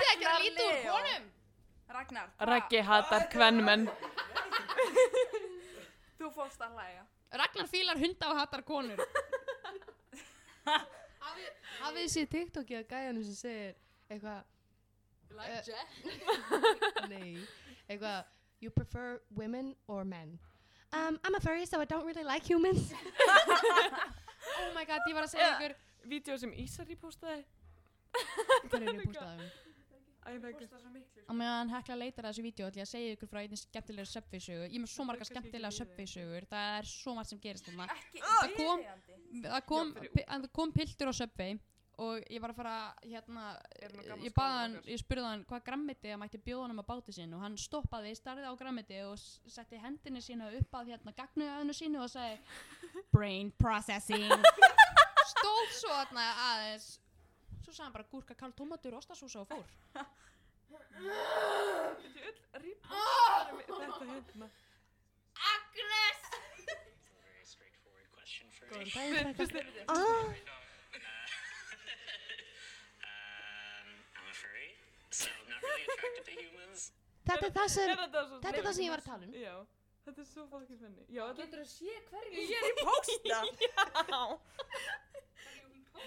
[SPEAKER 6] ekki að líta úr
[SPEAKER 3] Leó.
[SPEAKER 6] honum!
[SPEAKER 3] Ragnar, hva?
[SPEAKER 1] Raggi hatar kvennmenn.
[SPEAKER 3] þú fórst að hlæja.
[SPEAKER 2] Ragnar fílar hunda og hattar konur
[SPEAKER 6] Hafið
[SPEAKER 4] Hafið þið séð TikTokið að gæjanum sem segir eitthvað,
[SPEAKER 6] Like Jack?
[SPEAKER 4] nei, eitthvað, you prefer women or men? Um, I'm a furry so I don't really like humans.
[SPEAKER 2] oh my god, ég var að segja ykkur
[SPEAKER 1] Vídeó sem Ísari postaði.
[SPEAKER 2] hvað er ég bústaðum?
[SPEAKER 1] Æ, það er ekki.
[SPEAKER 3] Fórst að svo miklu.
[SPEAKER 2] á meðan hekla leitar að þessu vídeo ætla ég að segja ykkur frá einnig skemmtilega söpfisögu ég er með svo marga
[SPEAKER 1] kannski ekki
[SPEAKER 2] skemmtilega
[SPEAKER 1] við þig.
[SPEAKER 2] söpfisögur það er svo margt sem gerist þarna
[SPEAKER 3] Ekki
[SPEAKER 2] Það kom-
[SPEAKER 3] viðeigandi.
[SPEAKER 2] það kom,
[SPEAKER 1] fyrir
[SPEAKER 2] pi- að það kom piltur á söpfi og ég var að fara hérna,
[SPEAKER 3] Er nú gamall
[SPEAKER 2] ég baði hann,
[SPEAKER 3] skólabróðir.
[SPEAKER 2] ég spurði hann hvað grammiti að mætti bjóða hann á báti sinn og hann stoppaði, starði á grammiti og s- setti hendinni sína upp að hérna gagnuðaðinu sínu og sagði brain processing stóð svo þarna aðeins svo sagði hann bara gúrka kál tómatur og ostasósa og fór
[SPEAKER 1] Þetta er öll rýpast þetta hérna.
[SPEAKER 2] Góðan daginn, krakkar.
[SPEAKER 9] Uh, um, I'm a furry, so I'm not really attracted to humans.
[SPEAKER 4] Þetta er það sem,
[SPEAKER 1] Er þetta svo-
[SPEAKER 4] þetta er það sem ég var að tala um.
[SPEAKER 1] Já, þetta er svo fokkið fenni. Já, þetta
[SPEAKER 3] Getur að sé hverju ég er í pósta?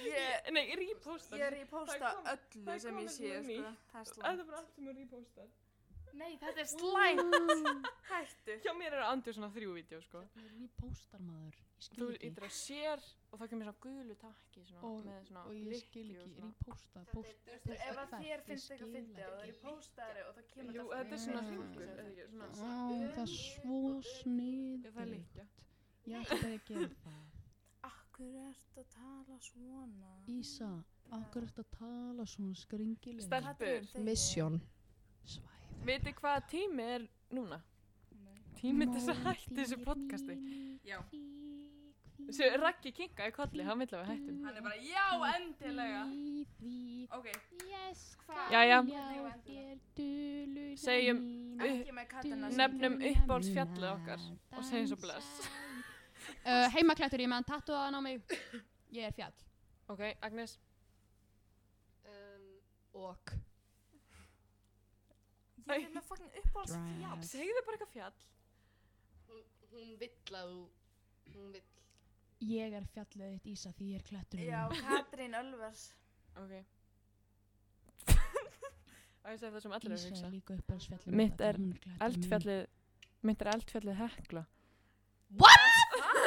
[SPEAKER 3] Ég,
[SPEAKER 1] Nei, reposta.
[SPEAKER 3] ég er í pósta
[SPEAKER 1] Það er það
[SPEAKER 3] öllu
[SPEAKER 1] er
[SPEAKER 3] sem ég
[SPEAKER 1] komið
[SPEAKER 3] sé,
[SPEAKER 1] svona
[SPEAKER 3] sko.
[SPEAKER 1] nýtt.
[SPEAKER 3] Það er
[SPEAKER 1] Þetta
[SPEAKER 3] slæmt.
[SPEAKER 1] er bara allt sem er repostar.
[SPEAKER 3] Nei, þetta er slæmt. Hættu.
[SPEAKER 1] Hjá mér er Andjó svona þrjú vídeo, sko.
[SPEAKER 2] Ég er í póstarmaður, ég
[SPEAKER 1] Þú
[SPEAKER 2] skil ekki
[SPEAKER 1] yttir að sér og þá kemur svona gulu takki svona
[SPEAKER 2] Og-
[SPEAKER 1] með svona
[SPEAKER 2] og ég skil
[SPEAKER 1] lykki og
[SPEAKER 2] ekki,
[SPEAKER 1] svona.
[SPEAKER 2] er í pósta, pósta
[SPEAKER 3] Þú veist, Ef að
[SPEAKER 2] hvert,
[SPEAKER 3] þér
[SPEAKER 2] ég
[SPEAKER 3] finnst eitthvað
[SPEAKER 2] skil
[SPEAKER 3] fyndið og það er í póstaðari og það kemur
[SPEAKER 1] Jú,
[SPEAKER 3] þetta
[SPEAKER 1] þetta er svona
[SPEAKER 2] Mm.
[SPEAKER 1] hringur, eða ekki, svona.
[SPEAKER 2] Ó, það er svo snið
[SPEAKER 1] Já, Það er líka.
[SPEAKER 2] Ég ætlaði að gera það
[SPEAKER 3] Akkur ert að tala svona?
[SPEAKER 2] Ísa, okkur ertu að tala svona skringilega
[SPEAKER 1] Stelpur.
[SPEAKER 4] Mission.
[SPEAKER 2] Svæði
[SPEAKER 1] Viti hvað tími er núna? Tími til þess að hætti þessu podcasti.
[SPEAKER 3] Já.
[SPEAKER 1] Þessu Raggi kinkaði kolli, hann vill að við hættum.
[SPEAKER 3] Hann er bara, já, endilega. Ok,
[SPEAKER 1] Jæja. Segjum
[SPEAKER 2] Segjum
[SPEAKER 3] ekki með kattina sem-
[SPEAKER 1] Nefnum uppáhaldsfjallið okkar og segjum svo bless.
[SPEAKER 2] uh, Heimaklættur, ég meðan tattuðan á mig Ég er fjall
[SPEAKER 1] Ok, Agnes,
[SPEAKER 6] Um,
[SPEAKER 2] Og
[SPEAKER 3] Ég er með fucking uppáhaldsfjall.
[SPEAKER 1] segðu bara eitthvað fjall.
[SPEAKER 6] hún, hún vill að þú, hún vill.
[SPEAKER 2] Ég er fjallið þitt Ísa því ég er klættur
[SPEAKER 3] Já, Katrín Ölvers.
[SPEAKER 1] Ok. Á ég að segja það sem allir er að
[SPEAKER 2] Ísa
[SPEAKER 1] hugsa.
[SPEAKER 2] er líka uppáhaldsfjallið
[SPEAKER 1] Mitt
[SPEAKER 2] mitt, af því
[SPEAKER 1] er
[SPEAKER 2] hún klæddur mín.
[SPEAKER 1] Eldfjallið, mitt er eldfjallið hekla.
[SPEAKER 2] What?